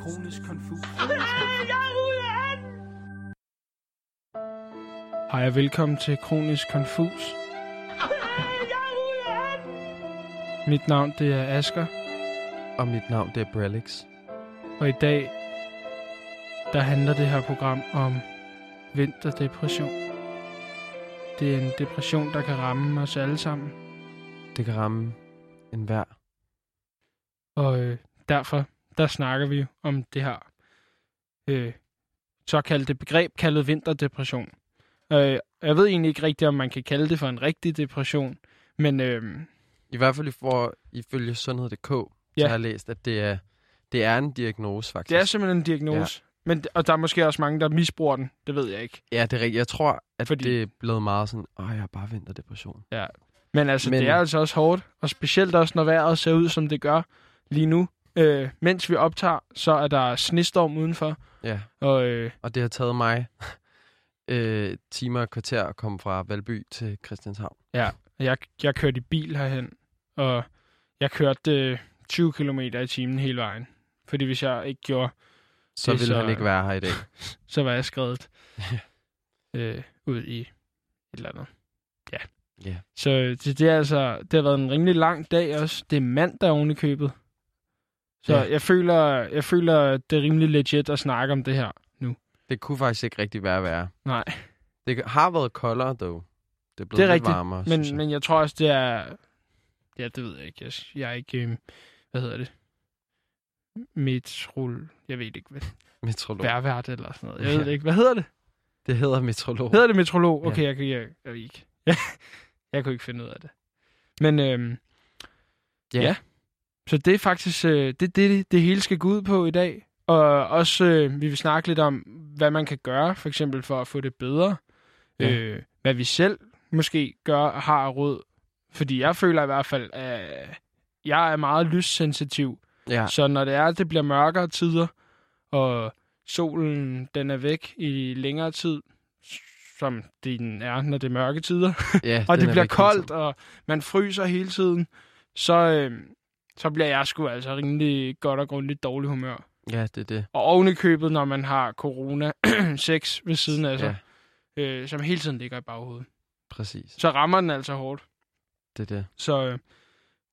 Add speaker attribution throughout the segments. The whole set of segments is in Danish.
Speaker 1: Kronisk konfus.
Speaker 2: Hej og velkommen til Kronisk Konfus. Mit navn det er Asker,
Speaker 3: Og mit navn det er Brelix.
Speaker 2: og i dag der handler det her program om vinterdepression. Det er en depression, der kan ramme os alle sammen,
Speaker 3: Det kan ramme enhver.
Speaker 2: og øh, derfor der snakker vi om det her øh, såkaldte begreb kaldet vinterdepression. Øh, jeg ved egentlig ikke rigtigt, om man kan kalde det for en rigtig depression, men øh,
Speaker 3: I hvert fald for, ifølge sundhed.dk, ja. så
Speaker 2: Ja.
Speaker 3: har jeg læst, at det er, det er en diagnose faktisk.
Speaker 2: Det er simpelthen en diagnose. Ja. Men, og der er måske også mange, der misbruger den. Det ved jeg ikke.
Speaker 3: Ja, det er rigtigt. Jeg tror, at
Speaker 2: Fordi-
Speaker 3: Fordi... det er blevet meget sådan, åh, jeg har bare vinterdepression.
Speaker 2: Men altså, Men...
Speaker 3: Men-
Speaker 2: det er altså også hårdt. Og specielt også, når vejret ser ud, som det gør lige nu. Øh, mens vi optager, så er der snestorm udenfor.
Speaker 3: Ja,
Speaker 2: Og øh,
Speaker 3: og det har taget mig øh, timer og kvarter at komme fra Valby til Christianshavn.
Speaker 2: jeg, jeg kørte i bil herhen. Og jeg kørte øh, 20 km i timen hele vejen. Fordi hvis jeg ikke gjorde,
Speaker 3: Så
Speaker 2: Det er
Speaker 3: ville
Speaker 2: så-
Speaker 3: han ikke være her i dag.
Speaker 2: så var jeg skrevet øh, ud i et eller andet. Ja.
Speaker 3: Ja.
Speaker 2: Så det, det, er altså, det har været en rimelig lang dag også. Det er mandag oven i købet. Så
Speaker 3: Ja.
Speaker 2: ja. jeg, føler, jeg føler, at det er rimelig legit at snakke om det her nu.
Speaker 3: Det kunne faktisk ikke rigtig være værre.
Speaker 2: Nej.
Speaker 3: Det har været koldere, dog. Det er blevet
Speaker 2: Det er
Speaker 3: lidt
Speaker 2: rigtigt,
Speaker 3: varmere,
Speaker 2: Men,
Speaker 3: synes jeg.
Speaker 2: men jeg tror også, det er... Ja, det ved jeg ikke. Jeg, jeg er ikke... Øh, hvad hedder det? Metrol... Jeg ved det ikke, hvad
Speaker 3: Metrolog.
Speaker 2: værvært eller sådan noget. Jeg ved
Speaker 3: Ja.
Speaker 2: det ikke. Hvad hedder det?
Speaker 3: Det hedder metrolog.
Speaker 2: Hedder det metrolog?
Speaker 3: Ja.
Speaker 2: Okay, jeg, kan- jeg, jeg, ved ikke. jeg kunne ikke finde ud af det. Men øhm,
Speaker 3: Ja.
Speaker 2: ja. Så det er faktisk øh, det, det, det, det hele skal gå ud på i dag. Og også, øh, vi vil snakke lidt om, hvad man kan gøre, for eksempel for at få det bedre.
Speaker 3: Ja.
Speaker 2: Ja. Øh, hvad vi selv måske gør og har af råd. Fordi jeg føler i hvert fald, at jeg er meget lyssensitiv.
Speaker 3: Ja.
Speaker 2: Så når det er, at det bliver mørkere tider, og solen den er væk i længere tid, som den er, når det er mørke tider,
Speaker 3: ja,
Speaker 2: og
Speaker 3: den
Speaker 2: det
Speaker 3: er
Speaker 2: bliver
Speaker 3: rigtig interessant.
Speaker 2: koldt, og man fryser hele tiden, så, øh, så bliver jeg sgu altså rimelig godt og grundigt dårlig humør.
Speaker 3: Ja, det er det.
Speaker 2: Og oven i købet, når man har corona 6 ved siden af altså. sig,
Speaker 3: Ja,
Speaker 2: ja. øh, som hele tiden ligger i baghovedet,
Speaker 3: præcis.
Speaker 2: så rammer den altså hårdt.
Speaker 3: Det er det.
Speaker 2: Så øh,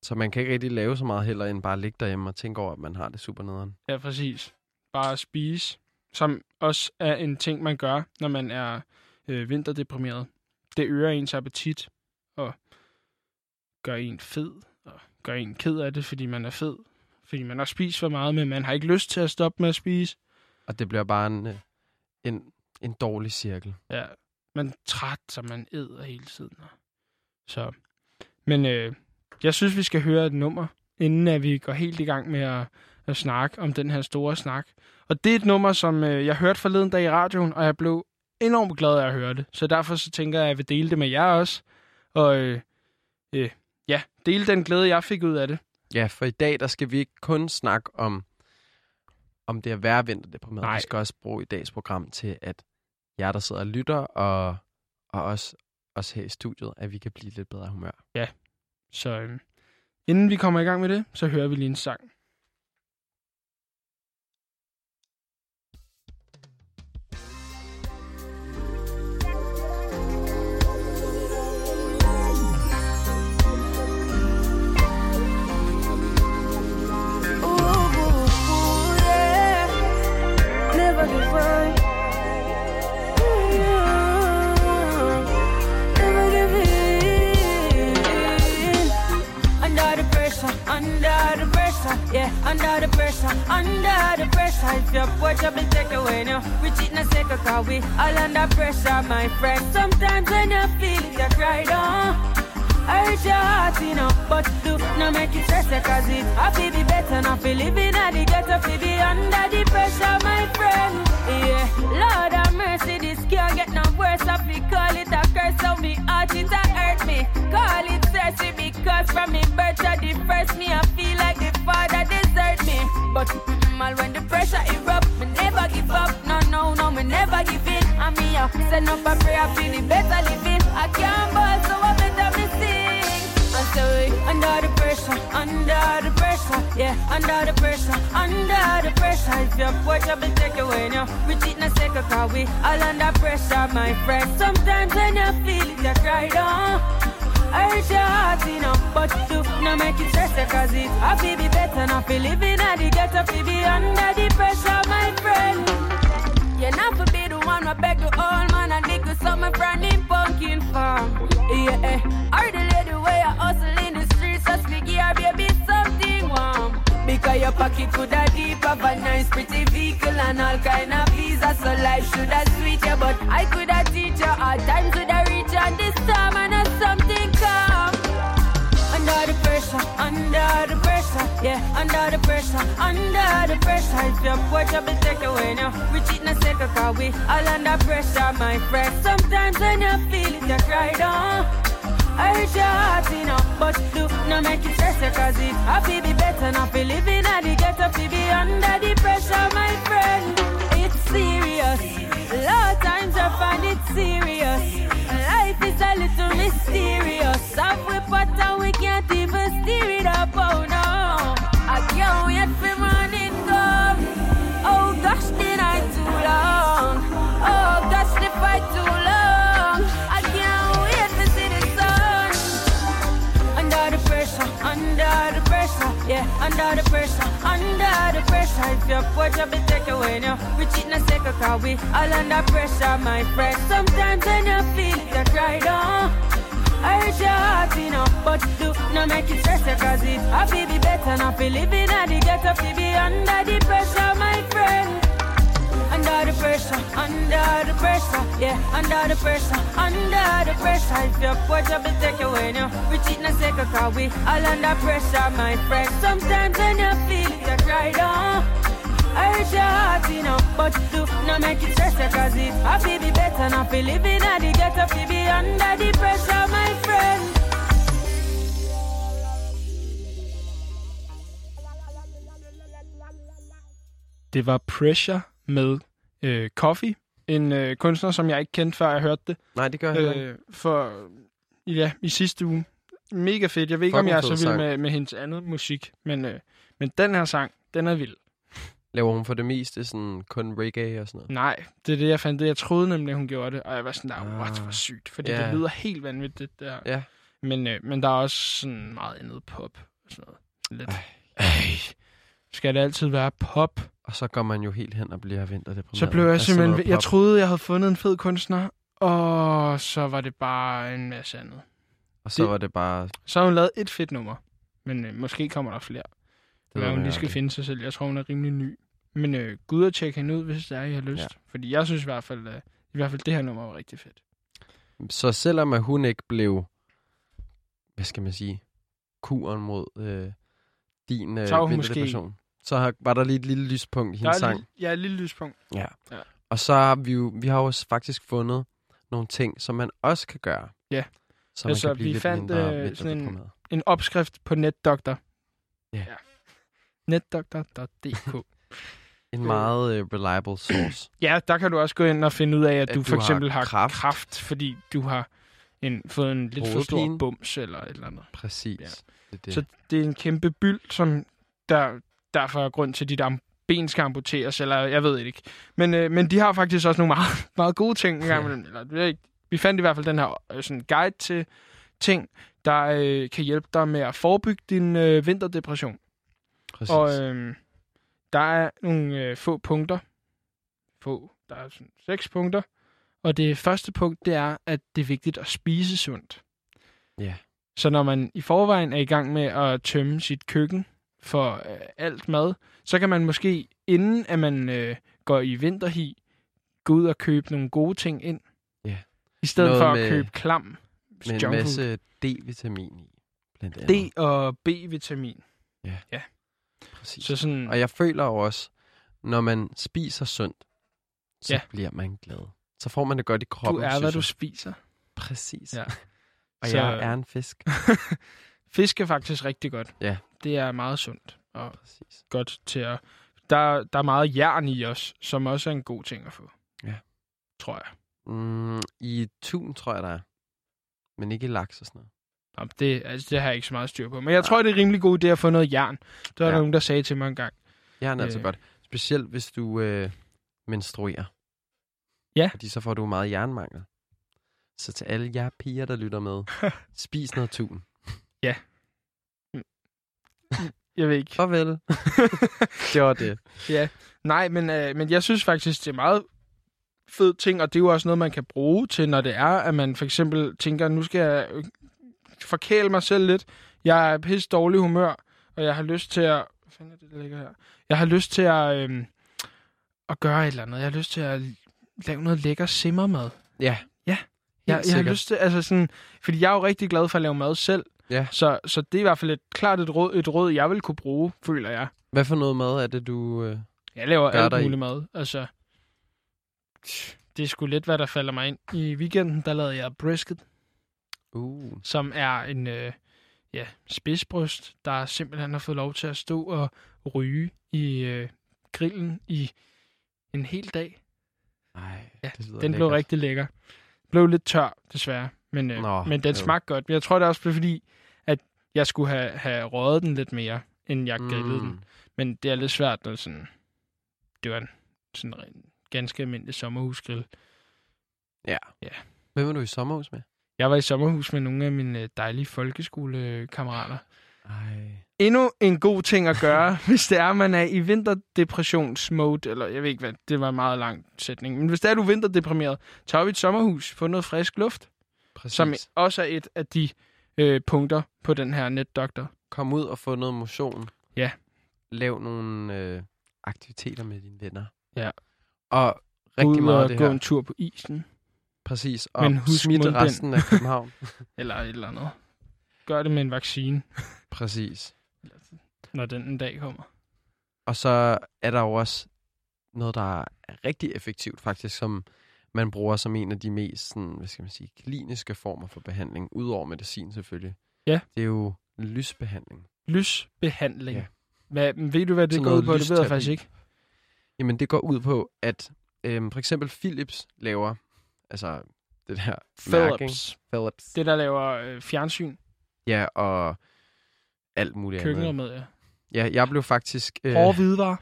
Speaker 3: Så man kan ikke rigtig lave så meget heller, end bare ligge derhjemme og tænke over, at man har det super nederen.
Speaker 2: ja, præcis. Bare at spise, som også er en ting, man gør, når man er øh, vinterdeprimeret. Det øger ens appetit, og gør en fed, og gør en ked af det, fordi man er fed. Fordi man har spist for meget, men man har ikke lyst til at stoppe med at spise.
Speaker 3: Og det bliver bare en, øh, en, en dårlig cirkel.
Speaker 2: Ja, man er træt, så man æder hele tiden. Så, men øh, jeg synes, vi skal høre et nummer, inden at vi går helt i gang med at, at snakke om den her store snak. Og det er et nummer, som øh, jeg hørte forleden dag i radioen, og jeg blev enormt glad af at høre det. Så derfor så tænker jeg, at jeg vil dele det med jer også. Og øh, øh, ja, dele den glæde, jeg fik ud af det.
Speaker 3: Ja, for i dag, der skal vi ikke kun snakke om, om det at være vinterdeprimeret.
Speaker 2: Nej.
Speaker 3: Vi skal også bruge i dags program til, at jer, der sidder og lytter, og, og os, os her i studiet, at vi kan blive lidt bedre i humør.
Speaker 2: Så øh, inden vi kommer i gang med det, så hører vi lige en sang.
Speaker 4: Ooh, ooh, yeah. Never give up. Mm, Never give in. Under the pressure, under the pressure, yeah, under the pressure, under the pressure. If your watch up and take away now, reach it in a second, cause we all under pressure, my friend. Sometimes when you feel it, you cry down. Hurt your heart, you know, but do not make it stress ya, cause it happy be better now feel living at the ghetto fi be under the pressure, my friend. Yeah, Lord have mercy, this can't get no worse. I fi call it a curse, so me heart it a hurt me. Call it thirsty because from me birth I the first me I feel like the father desert me. But mm, all when the pressure erupt, me never give up. No, no, no, me never give in. I mean, I send up a prayer for the better living. I can't ball, so I better me sing. And so we under the pressure, under the pressure, yeah, under the pressure, under the pressure. If your boy trouble take away now, we cheat in a second, cause we all under pressure, my friend. Sometimes when you feel it, you cry down. I hurt your heart, you know, but you no make it stress you, cause it I feel be better, not feel living at the ghetto, feel be under the pressure, my friend. You're not for be the one I beg the old man and dig with some brand in pumpkin farm. Yeah, eh. Or the lady way I hustle in the streets, just me give her baby something warm. Because your pocket could have deep have a nice pretty vehicle and all kind of visa, so life should have sweet ya. But I could have teach her all time could have reach and this time and have something come. Under the pressure, under the pressure, yeah, under the pressure, under the pressure. If your boy trouble take away now, we cheat in a second, cause we all under pressure, my friend. Sometimes when you feel it, you cry down. I hurt your heart, you know, but do not make it stress you, cause it I feel be better, not be living at the ghetto, to be under the pressure, my friend. It's serious, a lot of times I find it serious. Life is a little mysterious, up we but and we can't even steer it up, oh no. I can't wait for morning come. Oh gosh, did I too long? Oh gosh, the fight too long. I can't wait to see the sun. Under the pressure, under the pressure, yeah, under the pressure, under the pressure. If your boy trouble take away now, we cheat in a second, cause we all under pressure, my friend. Sometimes when you feel it, you cry down. I hurt your heart, you know, but do not make it stress you, cause it I feel be better, not feel living at the ghetto, feel be under the pressure, my friend. Under the pressure, under the pressure, yeah, under the pressure, under the pressure. If your boy trouble take away now, we cheat in a second, cause we all under pressure, my friend. Sometimes when you feel it, you cry down. I hurt your heart, you know, but do not make it stress you, cause it I feel be better, not feel living at the ghetto, feel be under the pressure, my friend.
Speaker 2: Det var Pressure med øh, Coffee, en øh, kunstner, som jeg ikke kendte, før jeg hørte det.
Speaker 3: Nej, det gør jeg øh,
Speaker 2: Øh, for ja, i sidste uge. Mega fedt. Jeg ved ikke, om
Speaker 3: Fucking
Speaker 2: jeg er
Speaker 3: fed
Speaker 2: så vild
Speaker 3: sang.
Speaker 2: med, med hendes andet musik, men, øh, men den her sang, den er vild.
Speaker 3: Laver hun for det meste sådan kun reggae og sådan noget?
Speaker 2: Nej, det er det, jeg fandt. Det, jeg troede nemlig, hun gjorde det. Og jeg var sådan der, what, hvor
Speaker 3: Ah.
Speaker 2: sygt. Fordi
Speaker 3: Ja.
Speaker 2: det lyder helt vanvittigt, det der.
Speaker 3: Ja.
Speaker 2: Men, øh, men der er også sådan meget andet pop og sådan noget. Lidt.
Speaker 3: Ej.
Speaker 2: Ej. Skal det altid være pop?
Speaker 3: Og så går man jo helt hen og bliver vinterdeprimeret.
Speaker 2: Så blev jeg
Speaker 3: af sådan
Speaker 2: simpelthen...
Speaker 3: noget
Speaker 2: Jeg
Speaker 3: pop.
Speaker 2: troede, jeg havde fundet en fed kunstner, og så var det bare en masse andet.
Speaker 3: Og så
Speaker 2: det-
Speaker 3: var det bare...
Speaker 2: Så har hun lavet et fedt nummer, men øh, måske kommer der flere.
Speaker 3: Det
Speaker 2: Det
Speaker 3: ved
Speaker 2: hvad hun
Speaker 3: man
Speaker 2: lige
Speaker 3: jo
Speaker 2: skal
Speaker 3: aldrig.
Speaker 2: finde sig selv. Jeg tror, hun er rimelig ny. Men øh, gå ud og tjek hende ud, hvis der er, I har lyst.
Speaker 3: Ja.
Speaker 2: Ja. Fordi jeg synes i hvert fald, øh, i hvert fald det her nummer var rigtig fedt.
Speaker 3: Så selvom at hun ikke blev... Hvad skal man sige? Kuren mod øh, din øh,
Speaker 2: Så var hun
Speaker 3: vinterdepression. Så har, var der lige et lille lyspunkt i
Speaker 2: Der er
Speaker 3: hendes sang.
Speaker 2: Lille, ja, et lille lyspunkt.
Speaker 3: Ja.
Speaker 2: Ja.
Speaker 3: Og så har vi jo, vi har jo også faktisk fundet nogle ting, som man også kan gøre.
Speaker 2: Ja.
Speaker 3: Så
Speaker 2: Altså,
Speaker 3: man kan blive
Speaker 2: vi
Speaker 3: lidt
Speaker 2: fandt,
Speaker 3: mindre
Speaker 2: øh,
Speaker 3: mindre
Speaker 2: sådan en-
Speaker 3: deprimeret.
Speaker 2: En opskrift på netdoktor.
Speaker 3: Ja.
Speaker 2: Netdoktor.dk
Speaker 3: En meget uh, reliable source.
Speaker 2: Ja, der kan du også gå ind og finde ud af, at,
Speaker 3: At
Speaker 2: du,
Speaker 3: du
Speaker 2: for
Speaker 3: har
Speaker 2: eksempel har
Speaker 3: kræft.
Speaker 2: kraft, kraft fordi du har en, fået en lidt for stor
Speaker 3: Hovedpine.
Speaker 2: bums eller et eller andet.
Speaker 3: Præcis.
Speaker 2: Ja.
Speaker 3: Det er det.
Speaker 2: Så det er en kæmpe byld, som der derfor er grund til, at dit am- ben skal amputeres, eller jeg ved det ikke. Men, øh, men de har faktisk også nogle meget, meget gode ting. En gang
Speaker 3: Ja.
Speaker 2: ja. eller, det ved jeg ikke. Vi fandt i hvert fald den her øh, sådan guide til ting, der øh, kan hjælpe dig med at forebygge din øh, vinterdepression.
Speaker 3: Præcis.
Speaker 2: Og øh, der er nogle øh, få punkter. Få. Der er sådan seks punkter. Og det første punkt, det er, at det er vigtigt at spise sundt.
Speaker 3: Ja.
Speaker 2: Så når man i forvejen er i gang med at tømme sit køkken for øh, alt mad, så kan man måske, inden at man øh, går i vinterhi, gå ud og købe nogle gode ting ind.
Speaker 3: Ja.
Speaker 2: I stedet
Speaker 3: Noget
Speaker 2: for at
Speaker 3: med-
Speaker 2: købe klam.
Speaker 3: Med en
Speaker 2: junk food.
Speaker 3: masse D-vitamin i. Blandt andet.
Speaker 2: D- og B-vitamin.
Speaker 3: Præcis.
Speaker 2: Så sådan,
Speaker 3: Og jeg føler jo også, når man spiser sundt, så
Speaker 2: Ja.
Speaker 3: bliver man glad. Så får man det godt i
Speaker 2: du
Speaker 3: kroppen.
Speaker 2: er, hvad
Speaker 3: synes
Speaker 2: du
Speaker 3: jeg.
Speaker 2: spiser.
Speaker 3: Præcis.
Speaker 2: Ja.
Speaker 3: Og
Speaker 2: Så-
Speaker 3: jeg er en fisk.
Speaker 2: Fisk er faktisk rigtig godt.
Speaker 3: Ja.
Speaker 2: Det er meget sundt og
Speaker 3: Præcis.
Speaker 2: godt til at... Der, der er meget jern i os, som også er en god ting at få.
Speaker 3: Ja.
Speaker 2: Tror jeg.
Speaker 3: Mm, I tun tror jeg, der er. Men ikke i laks og sådan noget.
Speaker 2: Nå, det, altså, det har jeg ikke så meget styr på. Men jeg tror, det er en rimelig god idé at få noget jern. Der var
Speaker 3: Ja.
Speaker 2: ja. nogen, der sagde til mig engang.
Speaker 3: Jern er altså
Speaker 2: Øh.
Speaker 3: godt. Specielt hvis du øh, menstruerer.
Speaker 2: Ja.
Speaker 3: Fordi så får du meget jernmangel. Så til alle jer piger, der lytter med, spis noget tun.
Speaker 2: Jeg ved ikke.
Speaker 3: Farvel. det var det.
Speaker 2: Ja. Nej, men, øh, men jeg synes faktisk, det er meget fed ting, og det er jo også noget, man kan bruge til, når det er, at man for eksempel tænker, nu skal jeg øh, forkæle mig selv lidt. Jeg er pisse dårlig humør, og jeg har lyst til at... Hvad fanden er det, der ligger her? Jeg har lyst til at, øh, at gøre et eller andet. Jeg har lyst til at lave noget lækker simmermad.
Speaker 3: Ja.
Speaker 2: Ja.
Speaker 3: Jeg,
Speaker 2: Jeg, jeg har lyst til, altså sådan, fordi jeg er jo rigtig glad for at lave mad selv.
Speaker 3: Ja.
Speaker 2: Så, så det er i hvert fald et, klart et råd, et råd, jeg vil kunne bruge, føler jeg.
Speaker 3: Hvad for noget mad er det, du... Øh...
Speaker 2: Jeg laver
Speaker 3: Gør
Speaker 2: alt
Speaker 3: dig i.
Speaker 2: muligt mad. Altså, det er sgu lidt, hvad der falder mig ind. I weekenden, der lavede jeg brisket,
Speaker 3: Uh.
Speaker 2: som er en øh, ja, spidsbryst, der simpelthen har fået lov til at stå og ryge i øh, grillen i en hel dag.
Speaker 3: Ej,
Speaker 2: Ja,
Speaker 3: det lyder
Speaker 2: Den blev
Speaker 3: lækkert.
Speaker 2: rigtig lækker. Blev lidt tør, desværre. Men, øh,
Speaker 3: Nå,
Speaker 2: men den
Speaker 3: øv.
Speaker 2: smagte godt. Men jeg tror, det også blev fordi, at jeg skulle have, have røget den lidt mere, end jeg
Speaker 3: Mm.
Speaker 2: grillede den. Men det er lidt svært, når sådan... Det var en sådan en ganske almindelig sommerhusgrill.
Speaker 3: Hvem er du i sommerhus med?
Speaker 2: Jeg var i sommerhus med nogle af mine øh, dejlige folkeskolekammerater.
Speaker 3: Ej.
Speaker 2: Endnu en god ting at gøre, hvis det er, man er i vinterdepressionsmode, eller jeg ved ikke hvad, det var en meget lang sætning. Men hvis det er, du er vinterdeprimeret, tager vi et sommerhus, få noget frisk luft,
Speaker 3: Præcis.
Speaker 2: som også er et af de øh, punkter på den her netdoktor.
Speaker 3: Kom ud og få noget motion.
Speaker 2: Ja.
Speaker 3: Lav nogle øh, aktiviteter med dine venner.
Speaker 2: Ja.
Speaker 3: Og
Speaker 2: Ud
Speaker 3: rigtig meget af
Speaker 2: og
Speaker 3: det
Speaker 2: gå
Speaker 3: her.
Speaker 2: en tur på isen,
Speaker 3: Præcis. Og
Speaker 2: Men husk
Speaker 3: smitte
Speaker 2: mundbind.
Speaker 3: resten af København.
Speaker 2: eller et eller andet. Gør det med en vaccine,
Speaker 3: Præcis.
Speaker 2: når den en dag kommer.
Speaker 3: Og så er der jo også noget, der er rigtig effektivt faktisk, som man bruger som en af de mest sådan, hvad skal man sige, kliniske former for behandling, udover medicin selvfølgelig.
Speaker 2: Ja.
Speaker 3: Det er jo lysbehandling.
Speaker 2: Lysbehandling.
Speaker 3: Ja.
Speaker 2: Ja. Hvad, ved du, hvad det
Speaker 3: Sådan
Speaker 2: går ud
Speaker 3: noget
Speaker 2: på? Det ved jeg
Speaker 3: lysterapi.
Speaker 2: faktisk ikke.
Speaker 3: Jamen det går ud på, at øhm, for eksempel Philips laver, altså det der mærke, ikke?
Speaker 2: Philips.
Speaker 3: Philips.
Speaker 2: Det, der laver øh, fjernsyn.
Speaker 3: Ja, og alt muligt
Speaker 2: Køkkener
Speaker 3: andet.
Speaker 2: med, ja.
Speaker 3: Ja, jeg blev faktisk... Øh,
Speaker 2: Hårde hvidevarer.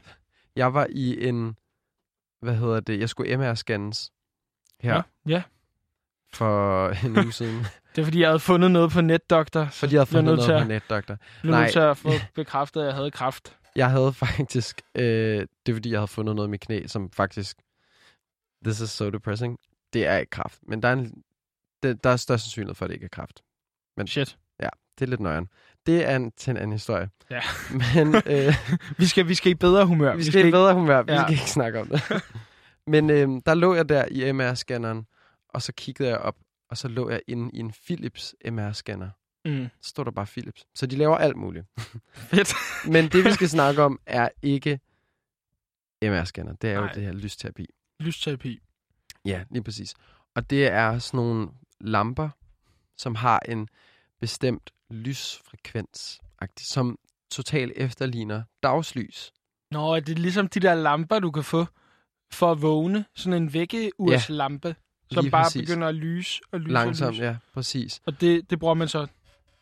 Speaker 3: jeg var i en... Hvad hedder det? Jeg skulle MR-scannes her
Speaker 2: Nå, ja.
Speaker 3: for en uge siden.
Speaker 2: Det er, fordi jeg havde fundet noget på netdoktor. Så
Speaker 3: Fordi jeg havde
Speaker 2: Bliver
Speaker 3: fundet
Speaker 2: nødt til
Speaker 3: noget
Speaker 2: at-
Speaker 3: på netdoktor.
Speaker 2: blev
Speaker 3: Nej.
Speaker 2: nødt til at få bekræftet, at jeg havde kraft.
Speaker 3: Jeg havde faktisk... Øh, det er fordi, jeg havde fundet noget i mit knæ, som faktisk... This is so depressing. Det er ikke kraft. Men der er, en, det, der er størst sandsynlighed for, at det ikke er kraft.
Speaker 2: Shit.
Speaker 3: Det er lidt nøjeren. Det er en, til en anden historie.
Speaker 2: Ja.
Speaker 3: Men... Øh,
Speaker 2: Vi skal, vi skal i bedre humør.
Speaker 3: vi skal i bedre humør. Vi
Speaker 2: Ja.
Speaker 3: skal ikke snakke om det. Men øhm, der lå jeg der i MR-scanneren, og så kiggede jeg op, og så lå jeg inde i en Philips MR-scanner.
Speaker 2: Mm.
Speaker 3: Så stod der bare Philips. Så de laver alt muligt.
Speaker 2: Fedt.
Speaker 3: Men det, vi skal snakke om, er ikke MR-scanner. Det er jo
Speaker 2: Nej.
Speaker 3: det her lysterapi.
Speaker 2: Lysterapi.
Speaker 3: Ja, lige præcis. Og det er sådan nogle lamper, som har en bestemt lysfrekvens, som totalt efterligner dagslys.
Speaker 2: Nå, det er ligesom de der lamper, du kan få for at vågne. Sådan en vækkeurslampe, som
Speaker 3: Lige
Speaker 2: bare
Speaker 3: præcis.
Speaker 2: begynder at lyse og lyse og
Speaker 3: Langsomt,
Speaker 2: lyse.
Speaker 3: ja, præcis.
Speaker 2: Og det, det bruger man så.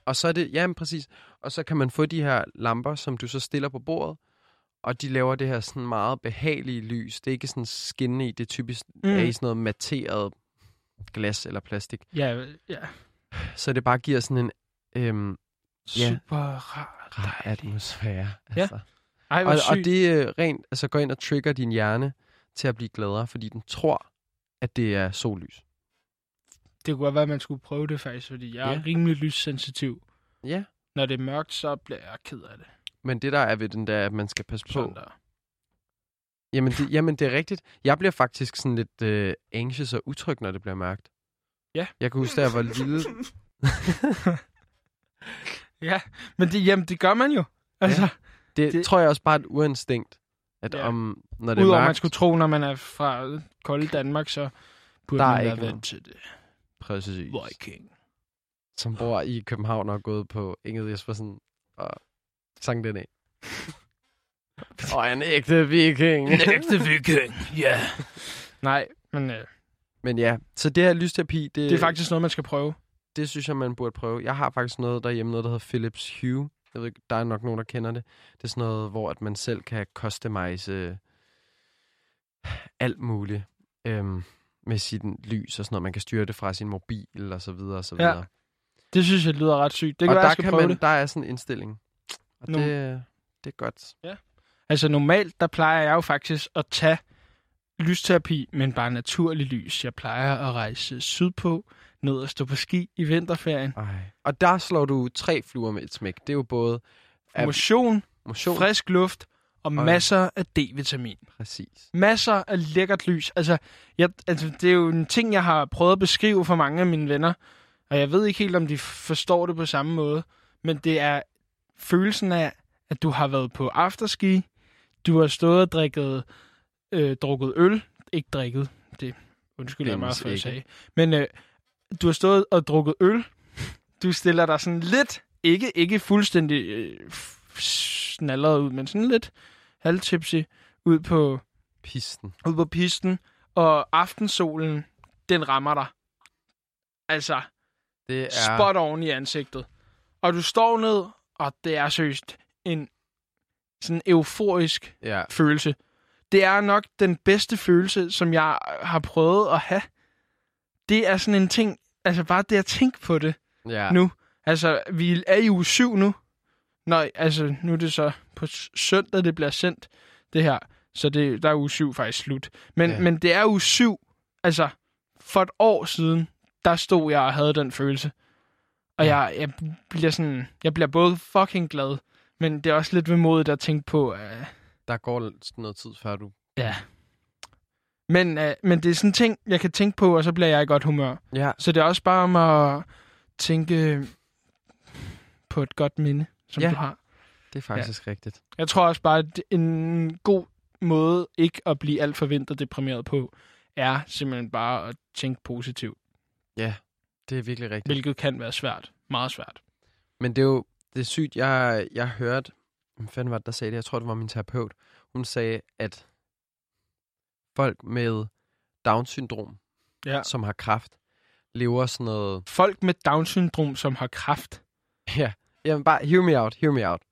Speaker 3: Og så er det, ja, men præcis. Og så kan man få de her lamper, som du så stiller på bordet, og de laver det her sådan meget behagelige lys. Det er ikke sådan skinnende i, det er typisk mm.
Speaker 2: Mm.
Speaker 3: er i sådan noget matteret glas eller plastik.
Speaker 2: Ja, ja.
Speaker 3: Så det bare giver sådan en øhm, Ja.
Speaker 2: Super rart.
Speaker 3: rar atmosfære.
Speaker 2: Ja,
Speaker 3: Altså.
Speaker 2: Ej, hvor
Speaker 3: og, og
Speaker 2: sygt.
Speaker 3: det øh, rent, altså går ind og trigger din hjerne til at blive gladere, fordi den tror, at det er sollys.
Speaker 2: Det kunne godt være, at man skulle prøve det faktisk, fordi jeg er
Speaker 3: Ja.
Speaker 2: rimelig lyssensitiv.
Speaker 3: Ja.
Speaker 2: Når det er mørkt, så bliver jeg ked af det.
Speaker 3: Men det der er ved den der, er, at man skal passe på,
Speaker 2: Sådan der.
Speaker 3: Jamen det, jamen, det er rigtigt. Jeg bliver faktisk sådan lidt øh, anxious og utryg, når det bliver mørkt.
Speaker 2: Ja.
Speaker 3: Jeg kan huske, da jeg var lille...
Speaker 2: Ja, men det, jamen, det gør man jo. Altså,
Speaker 3: Det, det
Speaker 2: Det-
Speaker 3: tror jeg også bare er et urinstinkt, at
Speaker 2: Ja.
Speaker 3: om, når det
Speaker 2: ja,
Speaker 3: er
Speaker 2: udover
Speaker 3: mørkt...
Speaker 2: man skulle tro, når man er fra kolde Danmark, så burde
Speaker 3: Der
Speaker 2: der
Speaker 3: er
Speaker 2: man
Speaker 3: ikke
Speaker 2: være
Speaker 3: nogen.
Speaker 2: vant til det.
Speaker 3: Præcis.
Speaker 2: Viking.
Speaker 3: Som bor i København og er gået på Inget Jespersen og sang den af. og er en ægte viking.
Speaker 2: Ægte viking, ja. Nej, men øh,
Speaker 3: Men ja, så det her lysterapi, det,
Speaker 2: det er faktisk noget, man skal prøve.
Speaker 3: det synes jeg, man burde prøve. Jeg har faktisk noget derhjemme, noget, der hedder Philips Hue. Jeg ved ikke, der er nok nogen, der kender det. Det er sådan noget, hvor at man selv kan customize øh, alt muligt øhm, med sit lys og sådan noget. Man kan styre det fra sin mobil og så videre og så
Speaker 2: Ja,
Speaker 3: videre. Ja,
Speaker 2: Det synes jeg lyder ret sygt. Det kan
Speaker 3: og
Speaker 2: være,
Speaker 3: der,
Speaker 2: jeg skal prøve
Speaker 3: man,
Speaker 2: det.
Speaker 3: der er sådan en indstilling. Og
Speaker 2: Nu.
Speaker 3: det, det er godt.
Speaker 2: Altså normalt, der plejer jeg jo faktisk at tage lysterapi, men bare naturlig lys. Jeg plejer at rejse sydpå, ned og stå på ski i vinterferien.
Speaker 3: Ej. Og der slår du tre fluer med et smæk. Det er jo både Ja.
Speaker 2: Motion,
Speaker 3: motion,
Speaker 2: frisk luft og
Speaker 3: Og-
Speaker 2: masser af D-vitamin.
Speaker 3: præcis.
Speaker 2: Masser af lækkert lys. Altså, jeg, altså, det er jo en ting, jeg har prøvet at beskrive for mange af mine venner, og jeg ved ikke helt, om de forstår det på samme måde, men det er følelsen af, at du har været på afterski, du har stået og drikket, øh, drukket øl, ikke drikket, det undskyld jeg
Speaker 3: Findes
Speaker 2: meget for, jeg
Speaker 3: ikke.
Speaker 2: sagde, men øh, du har stået og drukket øl, du stiller dig sådan lidt, ikke, ikke fuldstændig øh, f- snalleret ud, men sådan lidt halvtipsy ud på
Speaker 3: Pisten.
Speaker 2: ud på pisten, og aftensolen, den rammer dig. Altså,
Speaker 3: Det er...
Speaker 2: ja. spot oven i ansigtet. Og du står ned, og det er seriøst en sådan euforisk
Speaker 3: Ja,
Speaker 2: følelse. Det er nok den bedste følelse, som jeg har prøvet at have. Det er sådan en ting, altså bare det at tænke på det
Speaker 3: ja.
Speaker 2: nu. Altså, vi er i uge 7 nu. Nej, altså, nu er det så på s- søndag, det bliver sendt, det her. Så det, der er uge 7 faktisk slut. Men,
Speaker 3: Ja.
Speaker 2: ja. men det er uge 7. Altså, for et år siden, der stod jeg og havde den følelse. Og
Speaker 3: Ja.
Speaker 2: jeg, jeg bliver sådan, jeg bliver både fucking glad, men det er også lidt vemodigt at tænke på, øh,
Speaker 3: Der går lidt noget tid, før du...
Speaker 2: ja. Men, øh, men det er sådan en ting, jeg kan tænke på, og så bliver jeg i godt humør.
Speaker 3: Ja,
Speaker 2: Så det er også bare om at tænke på et godt minde, som
Speaker 3: Ja.
Speaker 2: ja. du har.
Speaker 3: det er faktisk ja. rigtigt.
Speaker 2: Jeg tror også bare, at en god måde ikke at blive alt for vinterdeprimeret på, er simpelthen bare at tænke positivt,
Speaker 3: Det er virkelig rigtigt.
Speaker 2: hvilket kan være svært. Meget svært.
Speaker 3: Men det er jo det er sygt. Jeg, jeg hørte... Hvem fanden var det, der sagde det? Jeg tror, det var min terapeut. Hun sagde, at folk med Down-syndrom,
Speaker 2: Ja.
Speaker 3: som har kraft, lever sådan noget...
Speaker 2: Folk med Down-syndrom, som har kraft.
Speaker 3: Ja, jamen bare hear me out, hear me out.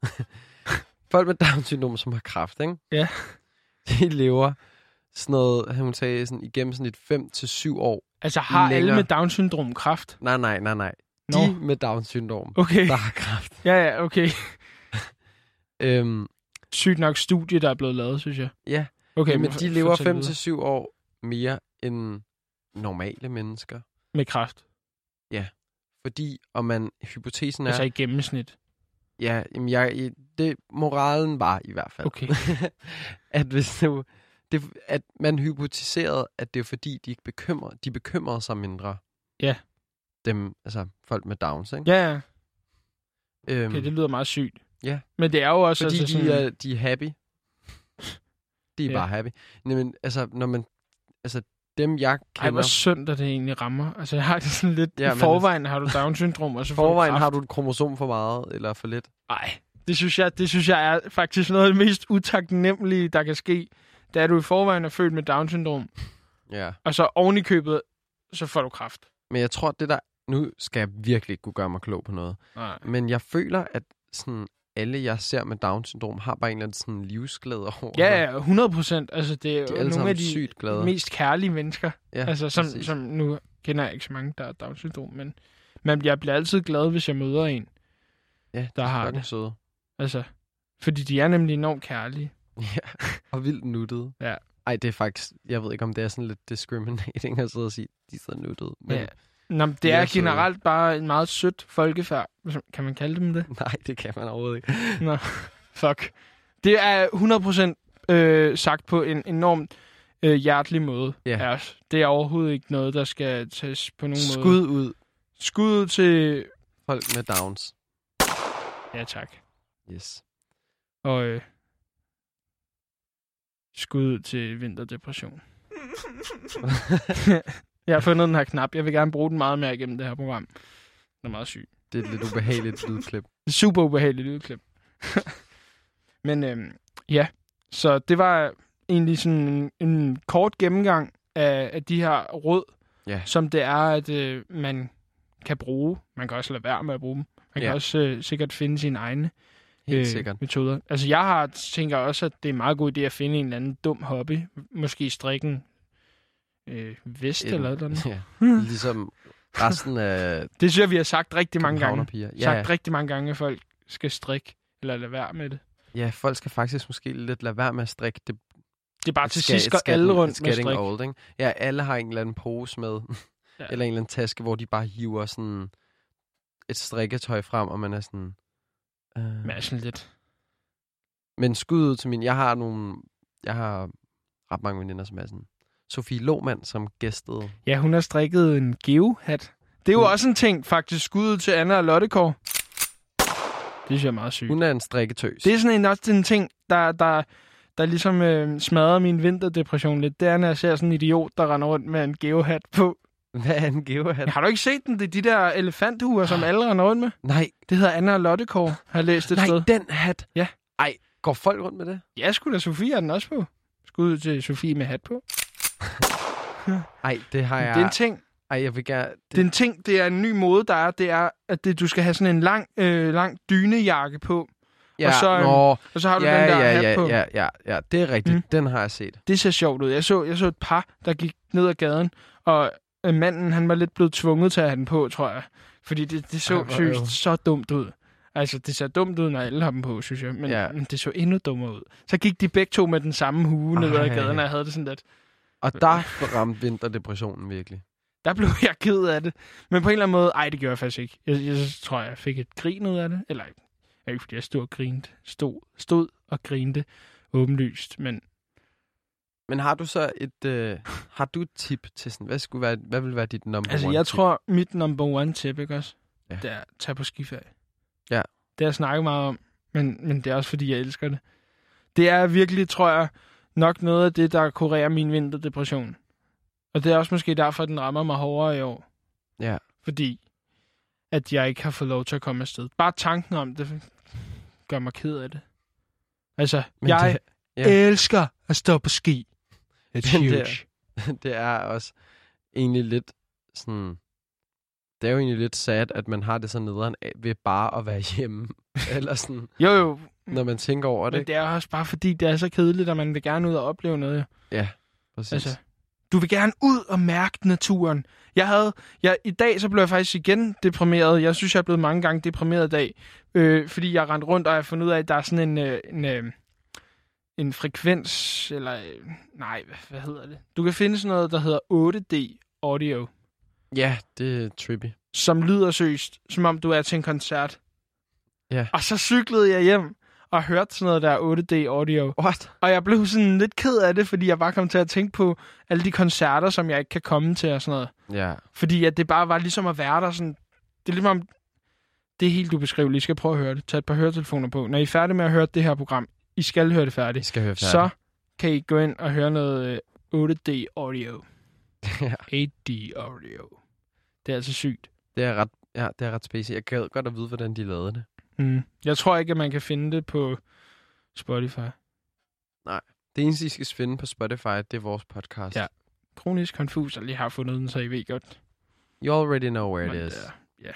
Speaker 3: folk med Down-syndrom, som har kraft, ikke?
Speaker 2: Ja.
Speaker 3: De lever sådan noget, hun sagde, sådan, igennem sådan et 5-7 år.
Speaker 2: Altså har
Speaker 3: Længere.
Speaker 2: alle med Down-syndrom kraft?
Speaker 3: Nej, nej, nej, nej.
Speaker 2: Nå.
Speaker 3: De med Down-syndrom,
Speaker 2: Okay.
Speaker 3: der har kraft.
Speaker 2: Ja, ja, okay.
Speaker 3: Øhm,
Speaker 2: Sygt nok studie, der er blevet lavet, synes jeg.
Speaker 3: Ja.
Speaker 2: Okay,
Speaker 3: okay, men
Speaker 2: for-
Speaker 3: de lever
Speaker 2: fortæl
Speaker 3: 5
Speaker 2: videre.
Speaker 3: til syv år mere end normale mennesker.
Speaker 2: Med kraft.
Speaker 3: Fordi, og man, hypotesen
Speaker 2: Ja.
Speaker 3: er...
Speaker 2: Altså i
Speaker 3: Altså,
Speaker 2: gennemsnit.
Speaker 3: ja, jamen jeg, i- det, moralen var i hvert fald.
Speaker 2: Okay.
Speaker 3: at hvis nu, det, at man hypotiserede, at det er fordi, de ikke bekymrer, de bekymrede sig mindre.
Speaker 2: Ja.
Speaker 3: Dem, altså folk med Downs, ikke?
Speaker 2: Ja, ja.
Speaker 3: øhm,
Speaker 2: Okay, det lyder meget sygt.
Speaker 3: Ja.
Speaker 2: Men det er jo også...
Speaker 3: Fordi
Speaker 2: altså,
Speaker 3: de, er, de er happy. De er
Speaker 2: Ja.
Speaker 3: bare happy. Nej, men altså, når man... Altså, dem jeg kender...
Speaker 2: Ej, hvor synd, at det egentlig rammer. Altså, jeg har det sådan lidt...
Speaker 3: Ja,
Speaker 2: Ja,
Speaker 3: men-
Speaker 2: I forvejen har du Down-syndrom, og så
Speaker 3: I
Speaker 2: får
Speaker 3: forvejen
Speaker 2: kraft.
Speaker 3: har du et kromosom for meget, eller for lidt.
Speaker 2: Ej, det synes, jeg, det synes jeg er faktisk noget af det mest utaknemmelige, der kan ske. Da du i forvejen er født med Down-syndrom,
Speaker 3: Ja.
Speaker 2: og så oven i købet, så får du kraft.
Speaker 3: Men jeg tror, det der... Nu skal jeg virkelig ikke kunne gøre mig klog på noget.
Speaker 2: Nej.
Speaker 3: Men jeg føler, at sådan alle, jeg ser med Down-syndrom, har bare en eller anden sådan livsglæde over
Speaker 2: Ja,
Speaker 3: sig.
Speaker 2: ja, 100 procent. Altså, det er,
Speaker 3: De
Speaker 2: jo
Speaker 3: er alle
Speaker 2: nogle
Speaker 3: sammen
Speaker 2: af de
Speaker 3: sygt glade.
Speaker 2: mest kærlige mennesker.
Speaker 3: ja,
Speaker 2: altså, som,
Speaker 3: præcis.
Speaker 2: som nu kender jeg ikke så mange, der er Down-syndrom, men, men jeg bliver altid glad, hvis jeg møder en,
Speaker 3: ja,
Speaker 2: der har
Speaker 3: fucking
Speaker 2: det.
Speaker 3: søde.
Speaker 2: Altså, fordi de er nemlig enormt kærlige.
Speaker 3: Ja, og vildt nuttede.
Speaker 2: Ja.
Speaker 3: Ej, det er faktisk... Jeg ved ikke, om det er sådan lidt discriminating at sidde og sige, de er så nuttede. Men
Speaker 2: Ja. Nå, men det
Speaker 3: Ja,
Speaker 2: er
Speaker 3: så-
Speaker 2: generelt bare en meget sødt folkefærd. Kan man kalde dem det?
Speaker 3: nej, det kan man overhovedet ikke.
Speaker 2: Nå, fuck. Det er 100% øh, sagt på en enormt øh, hjertelig måde.
Speaker 3: Ja.
Speaker 2: af os. Det er overhovedet ikke noget, der skal tages på nogen måde.
Speaker 3: Skud ud,
Speaker 2: Skud ud til...
Speaker 3: folk med Downs.
Speaker 2: Ja, tak.
Speaker 3: Yes.
Speaker 2: Og øh, skud ud til vinterdepression. jeg har fundet den her knap. Jeg vil gerne bruge den meget mere igennem det her program. Den er meget syg.
Speaker 3: Det er et lidt ubehageligt lydklip.
Speaker 2: Super ubehageligt lydklip. Men øhm, ja, så det var egentlig sådan en, en kort gennemgang af, af de her råd,
Speaker 3: Ja.
Speaker 2: som det er, at øh, man kan bruge. Man kan også lade være med at bruge dem. Man ja.
Speaker 3: Ja.
Speaker 2: kan også øh, sikkert finde sine egne
Speaker 3: Helt øh, sikkert.
Speaker 2: metoder. Altså jeg har tænker også, at det er en meget god idé at finde en eller anden dum hobby. Måske strikke en øh, vest
Speaker 3: En-
Speaker 2: eller noget. andet.
Speaker 3: Ja. Ligesom resten af
Speaker 2: Det synes jeg, vi har sagt rigtig mange gange.
Speaker 3: Piger.
Speaker 2: Ja.
Speaker 3: Ja, ja.
Speaker 2: Sagt rigtig mange gange, at folk skal strikke eller lade være med det.
Speaker 3: ja, folk skal faktisk måske lidt lade være med at strikke. Det
Speaker 2: Det er bare til
Speaker 3: skal-
Speaker 2: sidst går
Speaker 3: skatten-
Speaker 2: alle rundt
Speaker 3: it's
Speaker 2: med
Speaker 3: getting
Speaker 2: strik.
Speaker 3: old, ikke? Ja, alle har en eller anden pose med,
Speaker 2: Ja.
Speaker 3: ja. eller en eller anden taske, hvor de bare hiver sådan et strikketøj frem, og man er sådan... Øh.
Speaker 2: Men er sådan lidt.
Speaker 3: Men skud ud til min... Jeg har nogle... Jeg har ret mange veninder, som er sådan... Sofie Lohmann, som gæstede.
Speaker 2: Ja, hun har strikket en geohat. Det er jo
Speaker 3: Hun-
Speaker 2: også en ting, faktisk. Skud ud til Anna og Lottekår. Det synes jeg er meget sygt.
Speaker 3: Hun er en strikketøs.
Speaker 2: Det er sådan en, også en ting, der, der, der ligesom øh, smadrer min vinterdepression lidt. Det er, når jeg ser sådan en idiot, der render rundt med en geohat på.
Speaker 3: Hvad er en geohat?
Speaker 2: Har du ikke set den? Det er de der elefanthuer, som alle render rundt med.
Speaker 3: Nej,
Speaker 2: Det hedder Anna og Lottekår, har jeg læst et
Speaker 3: nej,
Speaker 2: sted.
Speaker 3: den hat.
Speaker 2: Ja.
Speaker 3: Ej, går folk rundt med det?
Speaker 2: Ja, skulle da Sofie har den også på. Skud ud til Sofie med hat på.
Speaker 3: Ej, det har
Speaker 2: Ja.
Speaker 3: jeg...
Speaker 2: Det er en ting.
Speaker 3: Ej, jeg vil gerne... Det,
Speaker 2: Det er en ting, det er en ny mode, der er, det er, at det, du skal have sådan en lang, øh, lang dynejakke på,
Speaker 3: ja,
Speaker 2: og så, øhm,
Speaker 3: nå,
Speaker 2: og så har du
Speaker 3: ja,
Speaker 2: den der
Speaker 3: ja,
Speaker 2: hat
Speaker 3: ja,
Speaker 2: på.
Speaker 3: ja, ja, ja, det er rigtigt.
Speaker 2: Mm.
Speaker 3: Mm. Den har jeg set.
Speaker 2: Det ser sjovt ud. Jeg så, jeg så et par, der gik ned ad gaden, og øh, manden, han var lidt blevet tvunget til at have den på, tror jeg. Fordi det, det så
Speaker 3: Ej,
Speaker 2: Ej,
Speaker 3: hvor
Speaker 2: synes,
Speaker 3: øv.
Speaker 2: så dumt ud. Altså, det ser dumt ud, når alle har dem på, synes jeg. Men, ja.
Speaker 3: Ja.
Speaker 2: men det så endnu dummere ud. Så gik de begge to med den samme hue ned ad
Speaker 3: Ej.
Speaker 2: gaden, og jeg havde det sådan lidt.
Speaker 3: Og der ramte vinterdepressionen virkelig.
Speaker 2: Der blev jeg ked af det. Men på en eller anden måde, ej, det gjorde jeg faktisk ikke. Jeg, jeg tror, jeg fik et grin ud af det. Eller ikke, fordi jeg stod og grinte. Stod, stod og grinte åbenlyst. Men
Speaker 3: Men har du så et øh, har du et tip til sådan hvad skulle være hvad vil være dit number
Speaker 2: altså,
Speaker 3: one
Speaker 2: jeg
Speaker 3: tip?
Speaker 2: tror, mit number one tip, ikke også? Ja.
Speaker 3: Ja.
Speaker 2: Det er at tage på skiferie.
Speaker 3: Ja.
Speaker 2: Det har jeg snakket meget om, men, men det er også, fordi jeg elsker det. Det er virkelig, tror jeg, nok noget af det, der kurerer min vinterdepression. Og det er også måske derfor, den rammer mig hårdere i år.
Speaker 3: Ja.
Speaker 2: Fordi at jeg ikke har fået lov til at komme afsted. Bare tanken om det gør mig ked af det. Altså,
Speaker 3: Men
Speaker 2: Men jeg det,
Speaker 3: ja.
Speaker 2: ja. elsker at stå på ski. It's
Speaker 3: Den
Speaker 2: huge.
Speaker 3: der- det, det er også egentlig lidt sådan det er jo egentlig lidt sad at man har det så nederen af ved bare at være hjemme eller sådan
Speaker 2: Jo, jo,
Speaker 3: når man tænker over det.
Speaker 2: Mm. Men
Speaker 3: det
Speaker 2: det er også bare fordi, det er så kedeligt, og man vil gerne ud og opleve noget. jo.
Speaker 3: præcis.
Speaker 2: Altså, du vil gerne ud og mærke naturen. Jeg havde, jeg, I dag så blev jeg faktisk igen deprimeret. Jeg synes, jeg er blevet mange gange deprimeret i dag. Øh, fordi jeg rendte rundt, og jeg har fundet ud af, at der er sådan en, øh, en, øh, en frekvens, eller øh, nej, hvad, hvad hedder det? Du kan finde sådan noget, der hedder 8D Audio,
Speaker 3: ja, det er trippy.
Speaker 2: som lyder søst, som om du er til en koncert.
Speaker 3: Ja.
Speaker 2: Og så cyklede jeg hjem og hørte sådan noget der 8D Audio.
Speaker 3: What?
Speaker 2: Og jeg blev sådan lidt ked af det, fordi jeg bare kom til at tænke på alle de koncerter, som jeg ikke kan komme til og sådan noget.
Speaker 3: Ja.
Speaker 2: Fordi at det bare var ligesom at være der sådan... Det er ligesom om... Det er helt ubeskriveligt. I skal prøve at høre det. Tag et par høretelefoner på. Når I er færdige med at høre det her program, I skal høre det
Speaker 3: Vi
Speaker 2: færdigt.
Speaker 3: skal høre
Speaker 2: Så kan I gå ind og høre noget øh, 8D audio.
Speaker 3: ja.
Speaker 2: 8D audio. Det er altså sygt.
Speaker 3: Det er ret ja, det er ret spacey. Jeg gad godt at vide hvordan de lavede det.
Speaker 2: Mm. Jeg tror ikke, at man kan finde det på Spotify.
Speaker 3: Det eneste, I skal finde på Spotify, det er vores podcast.
Speaker 2: Ja. Kronisk Confus, jeg lige har fundet den, så I ved godt,
Speaker 3: You already know where
Speaker 2: Men,
Speaker 3: it is.
Speaker 2: øh, Ja.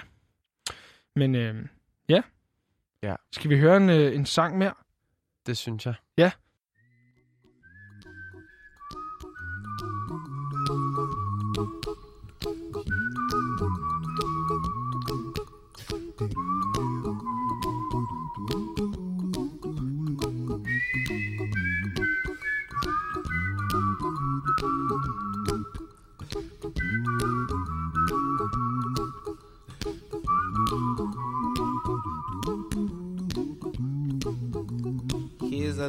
Speaker 2: Men øh, ja.
Speaker 3: Ja.
Speaker 2: Skal vi høre en, øh, en sang mere?
Speaker 3: Det synes jeg.
Speaker 2: Ja.
Speaker 1: Here's a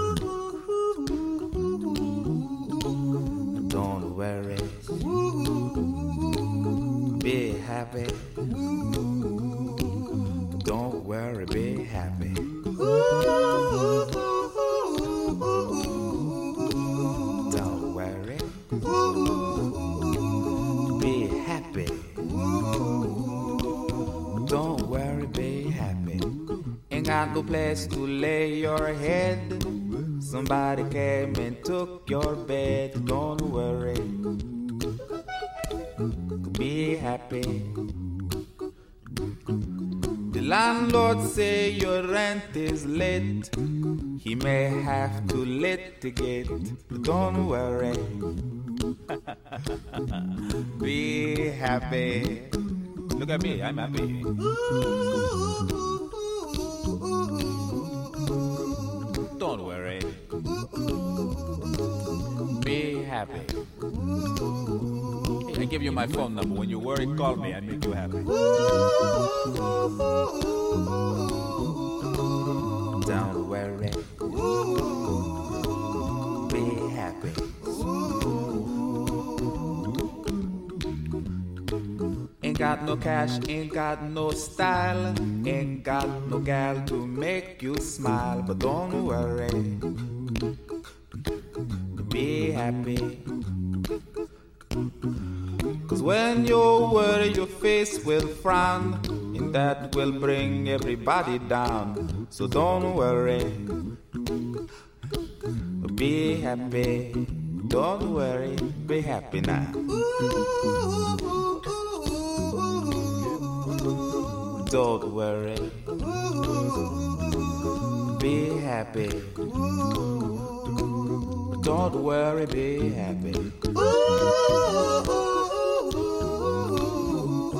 Speaker 1: Don't worry. Be happy. Don't got no place to lay your head. Somebody came and took your bed. Don't worry. Be happy. The landlord say your rent is late. He may have to litigate. But don't worry. Be happy. Look at me, I'm happy. Don't worry. Be happy. I give you my phone number. When you worry, call me. I make you happy. Don't worry. Be happy. Ain't got no cash, ain't got no style, ain't got no gal to make you smile. But don't worry, be happy. Cause when you worry, your face will frown, and that will bring everybody down. So don't worry, be happy. Don't worry, be happy now. Don't worry. Be happy. Don't worry, be happy.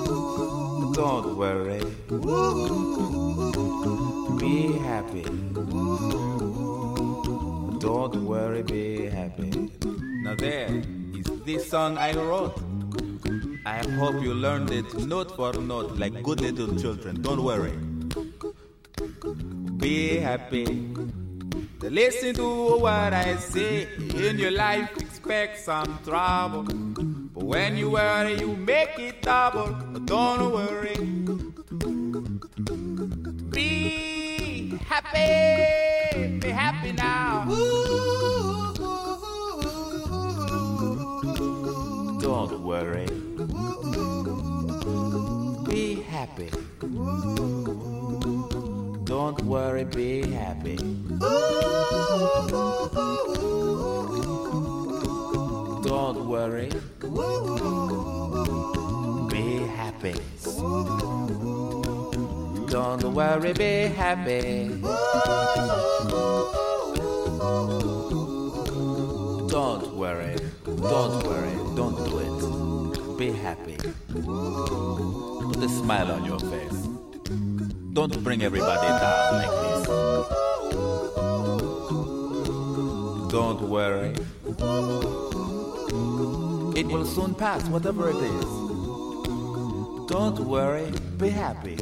Speaker 1: Don't worry. Be happy. Don't worry, be happy. Now, there is this song I wrote. I hope you learned it note for note like good little children. Don't worry. Be happy. Listen to what I say. In your life, expect some trouble. But when you worry, you make it double. But don't worry. Be happy. Be happy now. Don't worry. Be happy. Don't worry, be happy. Don't worry. Be happy. Don't worry, be happy. Don't worry. Don't worry. Don't do it. Be happy. Put a smile on your face. Don't bring everybody down like this. Don't worry. It will soon pass, whatever it is. Don't worry. Be happy.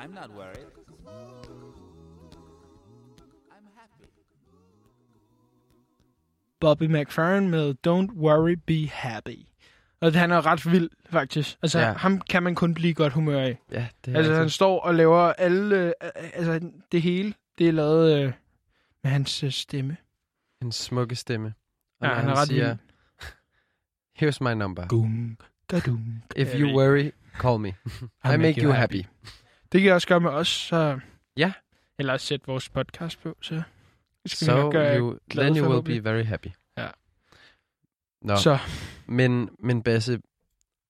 Speaker 1: I'm not worried. I'm happy.
Speaker 2: Bobby McFerrin med Don't Worry, Be Happy. Og han er ret vild, faktisk. Altså, ja.
Speaker 3: Ja.
Speaker 2: ham kan man kun blive i godt humør af.
Speaker 3: Ja, det
Speaker 2: Altså,
Speaker 3: er altså,
Speaker 2: han står og laver alle... Øh, altså, det hele, det er lavet øh, med hans øh, stemme.
Speaker 3: en smukke stemme. Og
Speaker 2: Ja,
Speaker 3: når
Speaker 2: han er ret
Speaker 3: siger,
Speaker 2: vild.
Speaker 3: Here's my number.
Speaker 2: Gung, gadung.
Speaker 3: If you worry, call me. I make you happy.
Speaker 2: Det kan jeg også gøre med os, så...
Speaker 3: Ja.
Speaker 2: Eller også sætte vores podcast på, så... skal vi
Speaker 3: So
Speaker 2: nok øh, gøre
Speaker 3: you,
Speaker 2: glade
Speaker 3: then you will
Speaker 2: forhåbentlig.
Speaker 3: be very happy.
Speaker 2: Ja.
Speaker 3: Nå,
Speaker 2: Så,
Speaker 3: men, men Basse,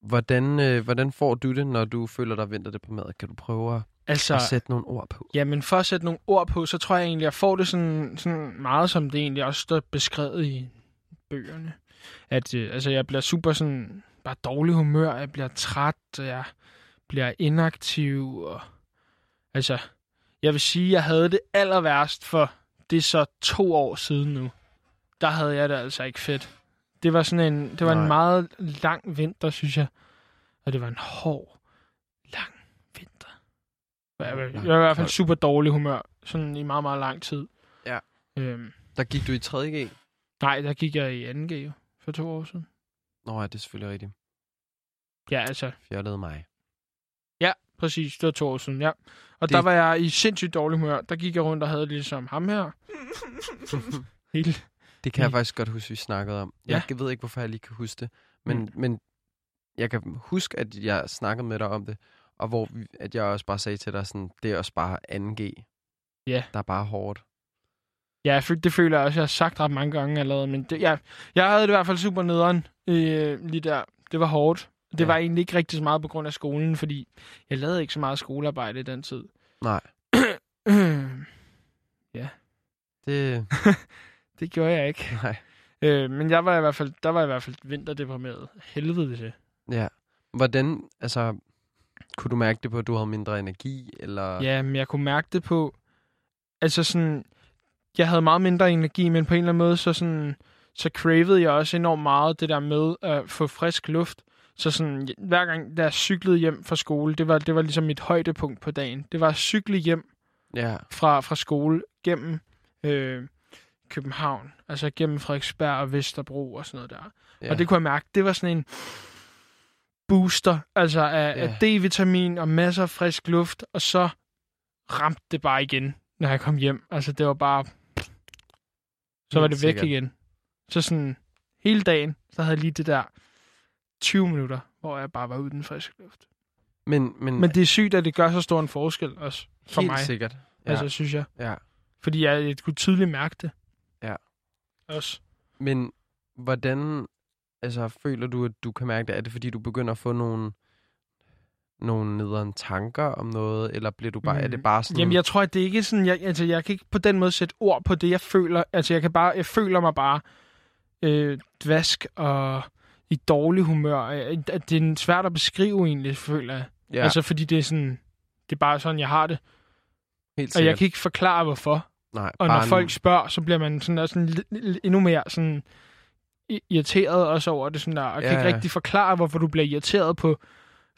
Speaker 3: hvordan, øh, hvordan får du det, når du føler dig vinterdeprimeret? Kan du prøve at,
Speaker 2: altså...
Speaker 3: at sætte nogle ord på?
Speaker 2: Jamen, for at sætte nogle ord på, så tror jeg egentlig, at jeg får det sådan, sådan meget, som det egentlig også står beskrevet i bøgerne. At øh, altså, jeg bliver super sådan, bare dårlig humør, jeg bliver træt, og jeg bliver inaktiv. Og, altså, jeg vil sige, at jeg havde det aller værst for det er så to år siden nu. Der havde jeg det altså ikke fedt. Det var sådan en, det var en
Speaker 3: Nej.
Speaker 2: meget lang vinter, synes jeg. Og det var en hård, lang vinter. Jeg var, jeg var i hvert fald super dårlig humør, sådan i meget, meget lang tid.
Speaker 3: Ja.
Speaker 2: Øhm,
Speaker 3: Der gik du i 3.G.
Speaker 2: nej, der gik jeg i 2G jo, for to år siden.
Speaker 3: Nå ja, det er selvfølgelig rigtigt.
Speaker 2: Ja, altså,
Speaker 3: Fjollede mig.
Speaker 2: præcis, det var to år siden, ja. Og det...
Speaker 3: Det-
Speaker 2: der var jeg i sindssygt dårlig humør. Der gik jeg rundt og havde det ligesom ham her. Hele
Speaker 3: Det kan jeg
Speaker 2: Mm.
Speaker 3: faktisk godt huske, vi snakkede om. Jeg ved ikke, hvorfor jeg lige kan huske det. Men, men jeg kan huske, at jeg snakkede med dig om det, og hvor vi, at jeg også bare sagde til dig, sådan, det er også bare 2G.
Speaker 2: Ja.
Speaker 3: Der er bare hårdt.
Speaker 2: Ja, jeg føl- det føler jeg også, jeg har sagt ret mange gange allerede, men det, jeg, jeg havde det i hvert fald super nederen øh, lige der. Det var hårdt. Det
Speaker 3: Ja.
Speaker 2: ja. var egentlig ikke rigtig så meget på grund af skolen, fordi jeg lavede ikke så meget skolearbejde i den tid.
Speaker 3: Nej. Det,
Speaker 2: det gjorde jeg ikke.
Speaker 3: nej.
Speaker 2: Øh, men jeg var i hvert fald, der var jeg i hvert fald vinterdeprimeret. Helvede til.
Speaker 3: Ja. Hvordan, altså, kunne du mærke det på, at du havde mindre energi, eller?
Speaker 2: Ja, men jeg kunne mærke det på... Altså sådan... Jeg havde meget mindre energi, men på en eller anden måde, så sådan... Så cravede jeg også enormt meget det der med at få frisk luft. Så sådan, hver gang, da jeg cyklede hjem fra skole, det var, det var ligesom mit højdepunkt på dagen. Det var at cykle hjem
Speaker 3: Ja.
Speaker 2: fra, fra skole gennem øh, København. Altså gennem Frederiksberg og Vesterbro og sådan noget der.
Speaker 3: ja.
Speaker 2: Ja. Og det kunne jeg mærke, det var sådan en booster, altså af,
Speaker 3: Ja.
Speaker 2: ja. af D-vitamin og masser af frisk luft, og så ramte det bare igen, når jeg kom hjem. Altså det var bare... Så var
Speaker 3: Helt
Speaker 2: det væk
Speaker 3: sikkert.
Speaker 2: igen. Så sådan hele dagen, så havde jeg lige det der 20 minutter, hvor jeg bare var uden frisk luft.
Speaker 3: Men, men,
Speaker 2: Men det er sygt, at det gør så stor en forskel også for
Speaker 3: Mm. helt
Speaker 2: mig,
Speaker 3: sikkert. Ja.
Speaker 2: altså synes jeg.
Speaker 3: ja.
Speaker 2: Fordi jeg, jeg kunne tydeligt mærke det.
Speaker 3: Ja.
Speaker 2: Også.
Speaker 3: Men hvordan altså, føler du, at du kan mærke det? Er det, fordi du begynder at få nogle, nogle nederen tanker om noget, eller bliver du bare, mm. er det
Speaker 2: Mm.
Speaker 3: bare sådan...
Speaker 2: Jamen, jeg tror, at det er ikke sådan... Jeg, altså, jeg kan ikke på den måde sætte ord på det, jeg føler. Altså, jeg, kan bare, jeg føler mig bare øh, dvask og i dårlig humør. Øh, At det er svært at beskrive, egentlig, føler jeg.
Speaker 3: ja,
Speaker 2: Ja. Altså, fordi det er sådan... Det er bare sådan, jeg har det.
Speaker 3: helt
Speaker 2: Og
Speaker 3: sikkert.
Speaker 2: jeg kan ikke forklare, hvorfor.
Speaker 3: Nej,
Speaker 2: Og
Speaker 3: bare
Speaker 2: når folk spørger, så bliver man sådan, også sådan, lidt- lidt- endnu mere sådan i- irriteret også over det. Sådan der, og ja.
Speaker 3: Ja,
Speaker 2: kan
Speaker 3: ja.
Speaker 2: ikke rigtig forklare, hvorfor du bliver irriteret på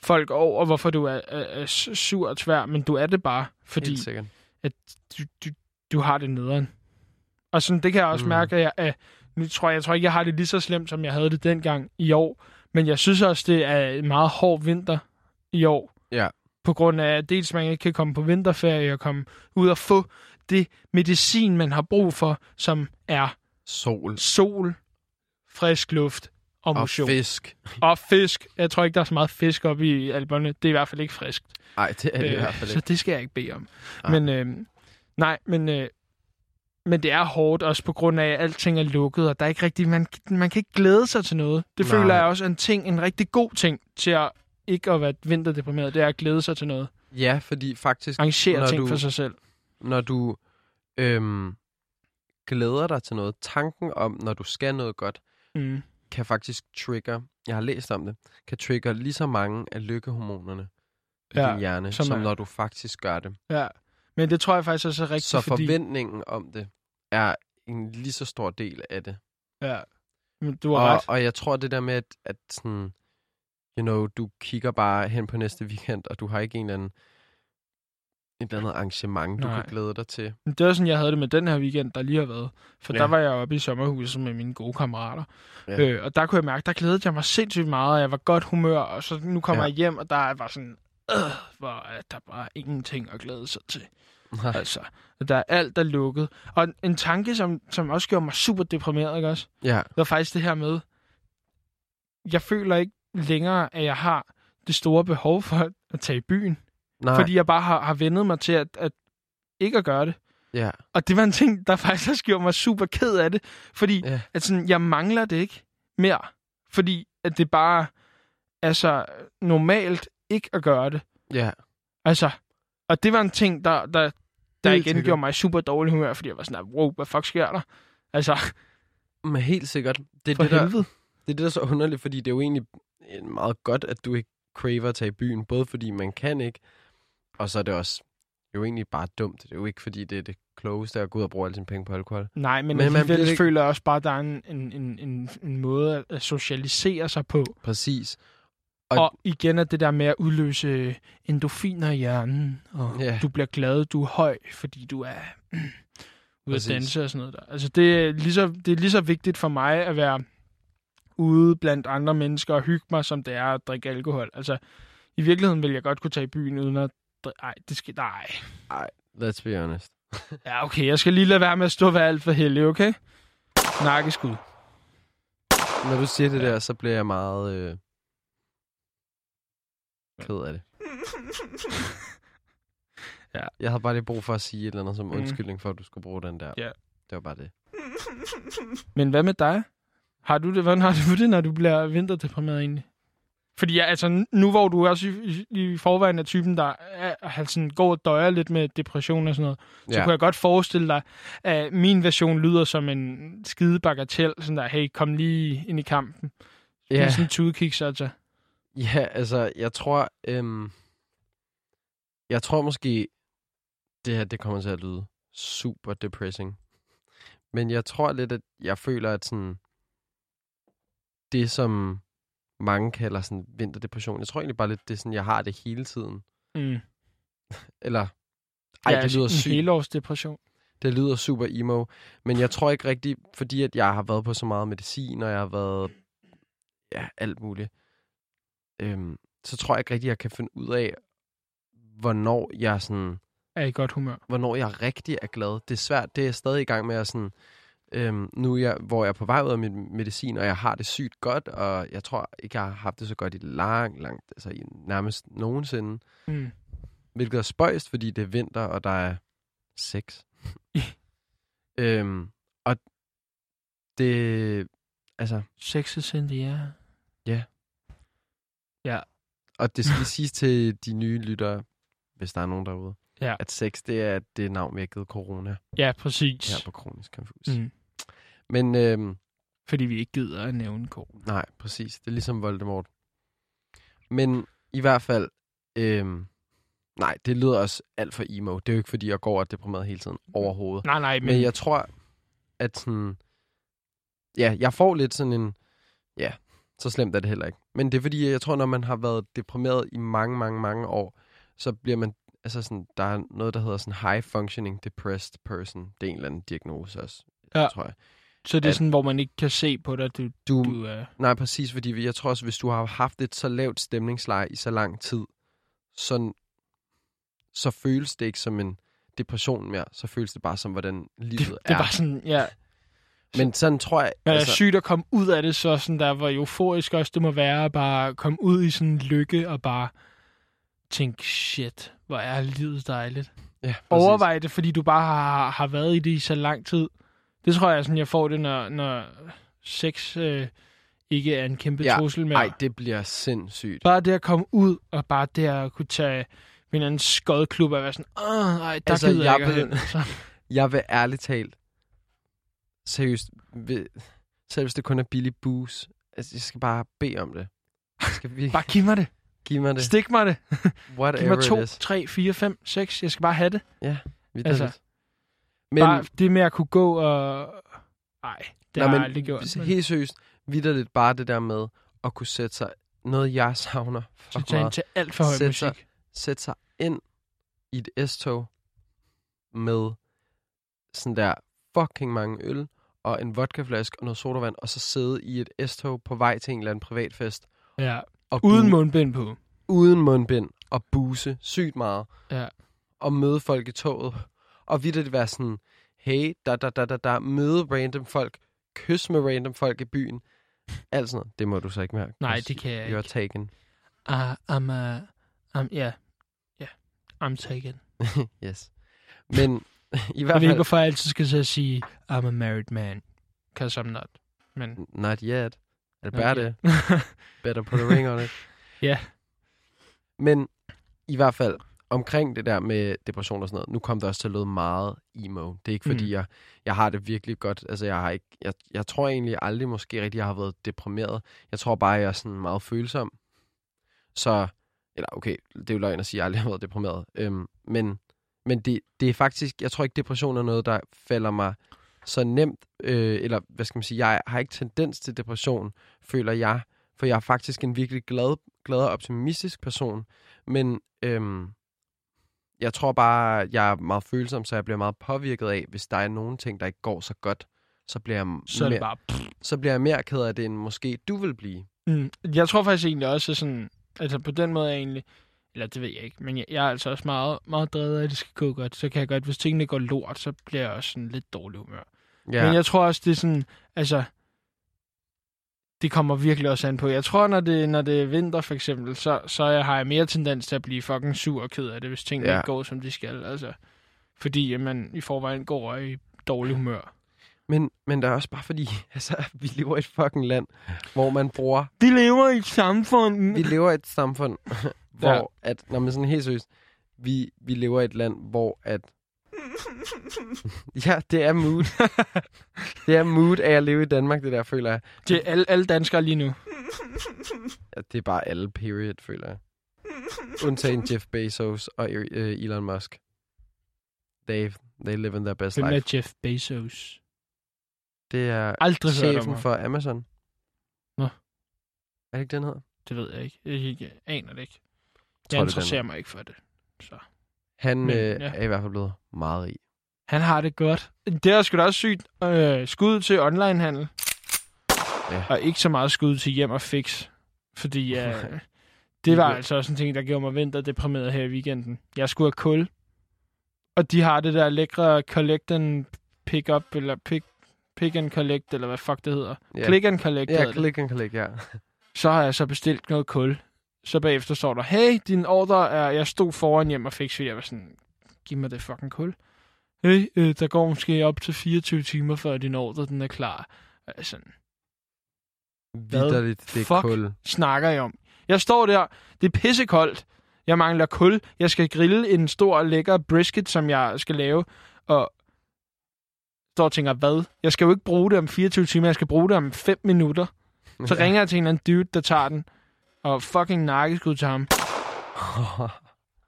Speaker 2: folk over, hvorfor du er, er, er sur og tvær. Men du er det bare, fordi
Speaker 3: Helt sikkert.
Speaker 2: du, du, du har det nederen. Og sådan, det kan jeg også
Speaker 3: Mm.
Speaker 2: mm. mærke, at jeg, at nu tror jeg, jeg tror ikke, jeg har det lige så slemt, som jeg havde det dengang i år. Men jeg synes også, det er en meget hård vinter i år.
Speaker 3: Ja.
Speaker 2: På grund af, at dels man ikke kan komme på vinterferie og komme ud og få det medicin, man har brug for, som er
Speaker 3: Sol
Speaker 2: sol, frisk luft og
Speaker 3: og
Speaker 2: motion. Og,
Speaker 3: fisk.
Speaker 2: og fisk. Jeg tror ikke, der er så meget fisk oppe i alberne. Det er i hvert fald ikke friskt.
Speaker 3: Nej, det er det i hvert fald
Speaker 2: Så
Speaker 3: ikke.
Speaker 2: det skal jeg ikke bede om.
Speaker 3: Nej.
Speaker 2: Øh, Men øh, nej, men, øh, men det er hårdt også på grund af, at alting er lukket, og der er ikke rigtig, man, man kan ikke glæde sig til noget. Det
Speaker 3: Nej.
Speaker 2: nej. føler jeg også er en ting, en rigtig god ting til at ikke at være vinterdeprimeret, det er at glæde sig til noget.
Speaker 3: Ja, fordi faktisk,
Speaker 2: Arrangere
Speaker 3: Når
Speaker 2: ting
Speaker 3: du-
Speaker 2: du... for sig selv.
Speaker 3: når du øhm, glæder dig til noget, tanken om, når du skal noget godt,
Speaker 2: Mm.
Speaker 3: kan faktisk trigger, jeg har læst om det, kan trigger lige så mange af lykkehormonerne ja, i
Speaker 2: Ja,
Speaker 3: din hjerne, som,
Speaker 2: som
Speaker 3: som
Speaker 2: er-
Speaker 3: når du faktisk gør det.
Speaker 2: Ja. Men det tror jeg faktisk også er rigtigt,
Speaker 3: så
Speaker 2: fordi...
Speaker 3: forventningen om det er en lige så stor del af det.
Speaker 2: Ja. Men Du har
Speaker 3: Og,
Speaker 2: ret.
Speaker 3: og jeg tror det der med, at, at sådan, you know, du kigger bare hen på næste weekend, og du har ikke en eller anden, et eller andet arrangement, du
Speaker 2: Nej.
Speaker 3: kan glæde dig til.
Speaker 2: Men Det var sådan, jeg havde det med den her weekend, der lige har været. For
Speaker 3: Ja.
Speaker 2: ja. der var jeg oppe i sommerhuset med mine gode kammerater.
Speaker 3: Ja.
Speaker 2: Ja. Øh, og der kunne jeg mærke, der glædede jeg mig sindssygt meget, og jeg var godt humør. Og så nu kommer
Speaker 3: Ja.
Speaker 2: ja. jeg hjem, og der var sådan, øh, hvor er der bare ingenting at glæde sig til.
Speaker 3: Nej.
Speaker 2: Altså, der er alt, der er lukket. Og en, en tanke, som, som også gjorde mig super deprimeret, ikke også?
Speaker 3: Ja,
Speaker 2: Det var faktisk det her med, jeg føler ikke længere, at jeg har det store behov for at tage i byen.
Speaker 3: nej,
Speaker 2: Fordi jeg bare har, har vendet mig til at, at ikke at gøre det.
Speaker 3: ja,
Speaker 2: Og det var en ting, der faktisk også gjorde mig super ked af det. Fordi
Speaker 3: Ja.
Speaker 2: ja. at sådan, jeg mangler det ikke mere. Fordi at det bare er så normalt ikke at gøre det.
Speaker 3: ja,
Speaker 2: Altså, og det var en ting, der, der, der
Speaker 3: Helt
Speaker 2: igen
Speaker 3: sikkert.
Speaker 2: gjorde mig i super dårlig humør, fordi jeg var sådan, her, wow, hvad fuck sker der? Altså,
Speaker 3: men helt sikkert. Det er
Speaker 2: for
Speaker 3: det, der,
Speaker 2: helvede.
Speaker 3: Det er det, der er så underligt, fordi det er jo egentlig øh, meget godt, at du ikke craver at tage i byen, både fordi man kan ikke, og så er det også det er jo egentlig bare dumt. Det er jo ikke, fordi det er det klogeste at gå ud og bruge alle sine penge på alkohol.
Speaker 2: Nej, men,
Speaker 3: man
Speaker 2: men man
Speaker 3: bliver
Speaker 2: ikke...
Speaker 3: ikke-
Speaker 2: føler jeg også bare, at der er en, en, en, en, en måde at socialisere sig på.
Speaker 3: Præcis. Og-
Speaker 2: Og, og igen er det der med at udløse endorfiner i hjernen, og
Speaker 3: Ja.
Speaker 2: ja. du bliver glad, du er høj, fordi du er mm, ude
Speaker 3: Præcis.
Speaker 2: at danse og sådan noget der. Altså det er, lige så, det er lige så vigtigt for mig at være ude blandt andre mennesker og hygge mig, som det er at drikke alkohol. Altså i virkeligheden vil jeg godt kunne tage i byen uden at... dri- Ej, det skal... Nej.
Speaker 3: Let's be honest.
Speaker 2: Ja, okay, jeg skal lige lade være med at stå og være alt for heldig, okay? Nakkeskud.
Speaker 3: Når du siger det der, så bliver jeg meget... Øh, Ked af det.
Speaker 2: Ja.
Speaker 3: Jeg havde bare lige brug for at sige et eller andet som
Speaker 2: Mm.
Speaker 3: undskyldning for, at du skulle bruge den der.
Speaker 2: Ja.
Speaker 3: Det var bare det.
Speaker 2: Men hvad med dig? Har du det, hvordan har du det, når du bliver vinterdeprimeret egentlig? Fordi ja, altså, nu hvor du også i, i forvejen er typen, der er, er sådan, går og døjer lidt med depression og sådan noget, så
Speaker 3: ja.
Speaker 2: kunne jeg godt forestille dig, at min version lyder som en skide bagatel, sådan der, hey, kom lige ind i kampen. Det er
Speaker 3: ja.
Speaker 2: sådan en tudekiks, altså.
Speaker 3: Ja, altså, jeg tror... Øhm, jeg tror måske, det her det kommer til at lyde super depressing. Men jeg tror lidt, at jeg føler, at sådan, det, som mange kalder sådan vinterdepression, jeg tror egentlig bare lidt, det er sådan, jeg har det hele tiden.
Speaker 2: Mm.
Speaker 3: Eller, ej, ja, det lyder
Speaker 2: en
Speaker 3: sygt.
Speaker 2: helårsdepression.
Speaker 3: Det lyder super emo, men jeg tror ikke rigtigt, fordi at jeg har været på så meget medicin, og jeg har været ja, alt muligt, øhm, så tror jeg ikke rigtigt, jeg kan finde ud af, hvornår jeg, sådan,
Speaker 2: Er i godt humør.
Speaker 3: hvornår jeg rigtig er glad. Det er svært, det er jeg stadig i gang med at sådan, øhm, nu er jeg, hvor jeg er på vej ud af min medicin, og jeg har det sygt godt, og jeg tror ikke, jeg har haft det så godt i lang, langt, altså i nærmest nogensinde,
Speaker 2: Mm.
Speaker 3: hvilket er spøjst, fordi det er vinter, og der er sex. øhm, og det, altså,
Speaker 2: Sex is in the air.
Speaker 3: og det skal lige siges til de nye lyttere, hvis der er nogen derude,
Speaker 2: Ja.
Speaker 3: at sex, det er det navn, vi har givet corona
Speaker 2: Ja, præcis.
Speaker 3: her på Kronisk Confus. Mm.
Speaker 2: Mm.
Speaker 3: Men øhm,
Speaker 2: Fordi vi ikke gider at nævne kål.
Speaker 3: nej, præcis, det er ligesom Voldemort. Men i hvert fald, øhm, nej, det lyder også alt for emo. Det er jo ikke, fordi jeg går og er deprimeret hele tiden overhovedet.
Speaker 2: Nej, nej, men...
Speaker 3: Men jeg tror, at sådan... Ja, jeg får lidt sådan en... Ja, så slemt er det heller ikke. Men det er fordi, jeg tror, når man har været deprimeret i mange, mange, mange år, så bliver man... Altså sådan, der er noget, der hedder sådan high functioning depressed person. Det er en eller anden diagnose også,
Speaker 2: Ja.
Speaker 3: ja. tror jeg.
Speaker 2: Så det er
Speaker 3: at-
Speaker 2: sådan, hvor man ikke kan se på dig, du,
Speaker 3: Du,
Speaker 2: du er...
Speaker 3: Nej, præcis, fordi jeg tror også, hvis du har haft et så lavt stemningsleje i så lang tid, så, så føles det ikke som en depression mere. Så føles det bare som, hvordan livet
Speaker 2: Det,
Speaker 3: er.
Speaker 2: det er bare sådan, ja.
Speaker 3: Men sådan tror jeg...
Speaker 2: Men altså, er sygt at komme ud af det, så sådan der, hvor euforisk også det må være, at bare komme ud i sådan en lykke og bare tænke, shit, hvor er livet dejligt.
Speaker 3: Ja, præcis.
Speaker 2: Overvej det, fordi du bare har, har været i det i så lang tid. Det tror jeg, sådan, jeg får det, når, når sex øh, ikke er en kæmpe
Speaker 3: Ja,
Speaker 2: trussel mere.
Speaker 3: Nej, det bliver sindssygt.
Speaker 2: Bare det at komme ud, og bare det at kunne tage min anden skodklub og være sådan, åh, nej, der
Speaker 3: Altså,
Speaker 2: altså, gider jeg
Speaker 3: jeg
Speaker 2: ikke at
Speaker 3: ved-
Speaker 2: hen." Så-
Speaker 3: Jeg vil ærligt talt, seriøst, vil, selv hvis det kun er billig booze, altså, jeg skal bare bede om det. Jeg skal virkelig
Speaker 2: Bare giv mig det.
Speaker 3: give mig det.
Speaker 2: Stik mig det. Giv
Speaker 3: Whatever
Speaker 2: mig
Speaker 3: it
Speaker 2: to,
Speaker 3: is.
Speaker 2: tre, fire, fem, seks. Jeg skal bare have det.
Speaker 3: Vi
Speaker 2: altså,
Speaker 3: altså,
Speaker 2: Men...
Speaker 3: men,
Speaker 2: Bare det med at kunne gå og... Nej, det
Speaker 3: nej,
Speaker 2: har
Speaker 3: men,
Speaker 2: jeg aldrig gjort.
Speaker 3: hvis-
Speaker 2: Men...
Speaker 3: Helt seriøst, vidderligt bare det der med at kunne sætte sig, noget jeg savner
Speaker 2: Så
Speaker 3: for
Speaker 2: tager
Speaker 3: meget,
Speaker 2: til alt for høj
Speaker 3: Sæt sig-
Speaker 2: musik.
Speaker 3: sætte sig ind i et S-tog med sådan der fucking mange øl og en vodkaflaske og noget sodavand, og så sidde i et S-tog på vej til en eller anden privatfest.
Speaker 2: Ja.
Speaker 3: Og
Speaker 2: Uden
Speaker 3: bu-
Speaker 2: mundbind på.
Speaker 3: uden mundbind og buse sygt meget.
Speaker 2: Ja.
Speaker 3: Og møde folk i toget. Og vidt det være sådan, hey, da, da, da, da, da, møde random folk, kys med random folk i byen. Alt sådan noget. Det må du så ikke mærke.
Speaker 2: Nej,
Speaker 3: because
Speaker 2: det kan jeg
Speaker 3: You're
Speaker 2: ikke.
Speaker 3: taken.
Speaker 2: Uh, I'm, uh, I'm, yeah. Yeah. I'm taken.
Speaker 3: yes. Men i
Speaker 2: Jeg
Speaker 3: hvert
Speaker 2: ved ikke,
Speaker 3: fald,
Speaker 2: hvorfor jeg altid skal til at sige, I'm a married man. Cause I'm not. Men...
Speaker 3: not yet. Er det
Speaker 2: Not
Speaker 3: bare
Speaker 2: yet.
Speaker 3: det? Better put a ring on it.
Speaker 2: Ja.
Speaker 3: Men i hvert fald, omkring det der med depression og sådan noget, nu kom det også til at lyde meget emo. Det er ikke fordi,
Speaker 2: Mm.
Speaker 3: mm. jeg, jeg har det virkelig godt. Altså, jeg, har ikke, jeg, jeg tror egentlig aldrig måske rigtig, jeg har været deprimeret. Jeg tror bare, jeg er sådan meget følsom. Så, eller okay, det er jo løgn at sige, at jeg aldrig har været deprimeret. Øhm, men men det, det er faktisk, jeg tror ikke, depression er noget, der falder mig så nemt, øh, eller hvad skal man sige, jeg har ikke tendens til depression, føler jeg, for jeg er faktisk en virkelig glad, glad og optimistisk person, men øhm, jeg tror bare, jeg er meget følsom, så jeg bliver meget påvirket af, hvis der er nogle ting, der ikke går så godt, så bliver jeg,
Speaker 2: Så er det
Speaker 3: mere,
Speaker 2: bare...
Speaker 3: så bliver jeg mere ked af det, end måske du vil blive.
Speaker 2: Mm. Jeg tror faktisk egentlig også, at sådan, altså på den måde er jeg egentlig, eller det ved jeg ikke, men jeg, jeg er altså også meget, meget drevet af, at det skal gå godt. Så kan jeg godt, hvis tingene går lort, så bliver jeg også sådan lidt dårlig humør. Ja. Men jeg tror også, det er sådan, altså, det kommer virkelig også an på. Jeg tror, når det, når det er vinter for eksempel, så, så jeg, har jeg mere tendens til at blive fucking sur og ked af det, hvis tingene
Speaker 3: Ja.
Speaker 2: ja. ikke går, som de skal. Altså, fordi at man i forvejen går i dårlig humør.
Speaker 3: Men, men der er også bare fordi, altså, vi lever i et fucking land, hvor man bruger...
Speaker 2: De lever i et samfund.
Speaker 3: Vi lever i et samfund, hvor at... Når man sådan helt seriøst, vi, vi lever i et land, hvor at... ja, det er mood. det er mood af at leve i Danmark, det der, føler jeg.
Speaker 2: Det er alle, alle danskere lige nu.
Speaker 3: Ja, det er bare alle period, føler jeg. Undtagen Jeff Bezos og Er- øh, Elon Musk. They, they live in their best
Speaker 2: Hvem
Speaker 3: life.
Speaker 2: er Jeff Bezos?
Speaker 3: Det er
Speaker 2: Aldrig hørt om
Speaker 3: chefen
Speaker 2: ham.
Speaker 3: for Amazon.
Speaker 2: Nå.
Speaker 3: Er det ikke den hedder?
Speaker 2: Det ved jeg ikke. Jeg, jeg, jeg aner det ikke.
Speaker 3: det
Speaker 2: Jeg
Speaker 3: er
Speaker 2: interesserer
Speaker 3: den.
Speaker 2: mig ikke for det. Så.
Speaker 3: Han
Speaker 2: Men,
Speaker 3: øh,
Speaker 2: ja.
Speaker 3: er i hvert fald blevet meget rig.
Speaker 2: Han har det godt. Det er sgu da også sygt. Øh, skud til onlinehandel.
Speaker 3: Ja.
Speaker 2: Ja. Og ikke så meget skud til hjem og fix. Fordi øh, det var altså også en ting, der gjorde mig vinterdeprimeret her i weekenden. Jeg skulle have kul. Og de har det der lækre collect and pick up, eller pick, pick and collect, eller hvad fuck det hedder.
Speaker 3: Ja.
Speaker 2: Yeah. Click and collect hedder
Speaker 3: Ja,
Speaker 2: det.
Speaker 3: click and click, ja.
Speaker 2: Så har jeg så bestilt noget kul. Så bagefter står der, hey, din ordre er, jeg stod foran hjem og fik, så jeg var sådan, giv mig det fucking kul. Hey, øh, der går måske op til 24 timer, før din ordre den er klar. Og jeg er Sådan,
Speaker 3: Vidderligt, det er
Speaker 2: Fuck.
Speaker 3: kul.
Speaker 2: snakker jeg om? Jeg står der, det er pissekoldt, jeg mangler kul, jeg skal grille en stor lækker brisket, som jeg skal lave, og står og tænker, hvad? Jeg skal jo ikke bruge det om 24 timer, jeg skal bruge det om 5 minutter. Så
Speaker 3: Ja.
Speaker 2: ringer jeg til en eller anden dude, der tager den, og fucking nakkeskud til ham.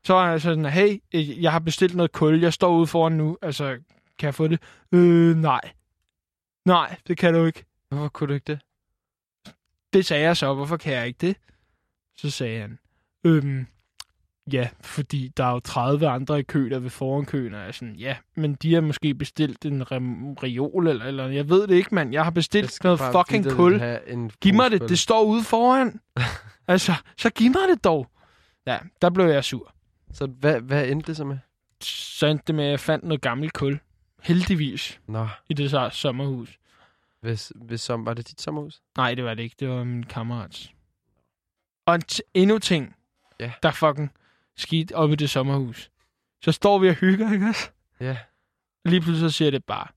Speaker 2: Så er jeg sådan, hey, øh, jeg har bestilt noget kul, jeg står ude foran nu, altså, kan jeg få det? Øh, nej. Nej, det kan du ikke.
Speaker 3: Hvorfor kunne du ikke det?
Speaker 2: Det sagde jeg så, hvorfor kan jeg ikke det? Så sagde han, øhm, ja, fordi der er jo 30 andre i kø, der vil foran køen, og jeg er sådan, ja, men de har måske bestilt en rem- reol, eller, eller jeg ved det ikke, mand, jeg har
Speaker 3: Jeg
Speaker 2: bestilt
Speaker 3: skal
Speaker 2: noget
Speaker 3: bare
Speaker 2: fucking kul.
Speaker 3: vidderligt have en
Speaker 2: Giv mig det,
Speaker 3: brugspil.
Speaker 2: det står ude foran. altså, så giv mig det dog. Ja, der blev jeg sur.
Speaker 3: Så hvad, hvad endte det så med?
Speaker 2: så endte det med, at jeg fandt noget gammelt kul. Heldigvis.
Speaker 3: Nå,
Speaker 2: I det så sommerhus.
Speaker 3: hvis, hvis som, var det dit sommerhus?
Speaker 2: Nej, det var det ikke. Det var min kammerats. Og en t- endnu ting,
Speaker 3: Ja.
Speaker 2: der fucking skidt op i det sommerhus. Så står vi og hygger, ikke også?
Speaker 3: Ja.
Speaker 2: Lige pludselig så siger det bare...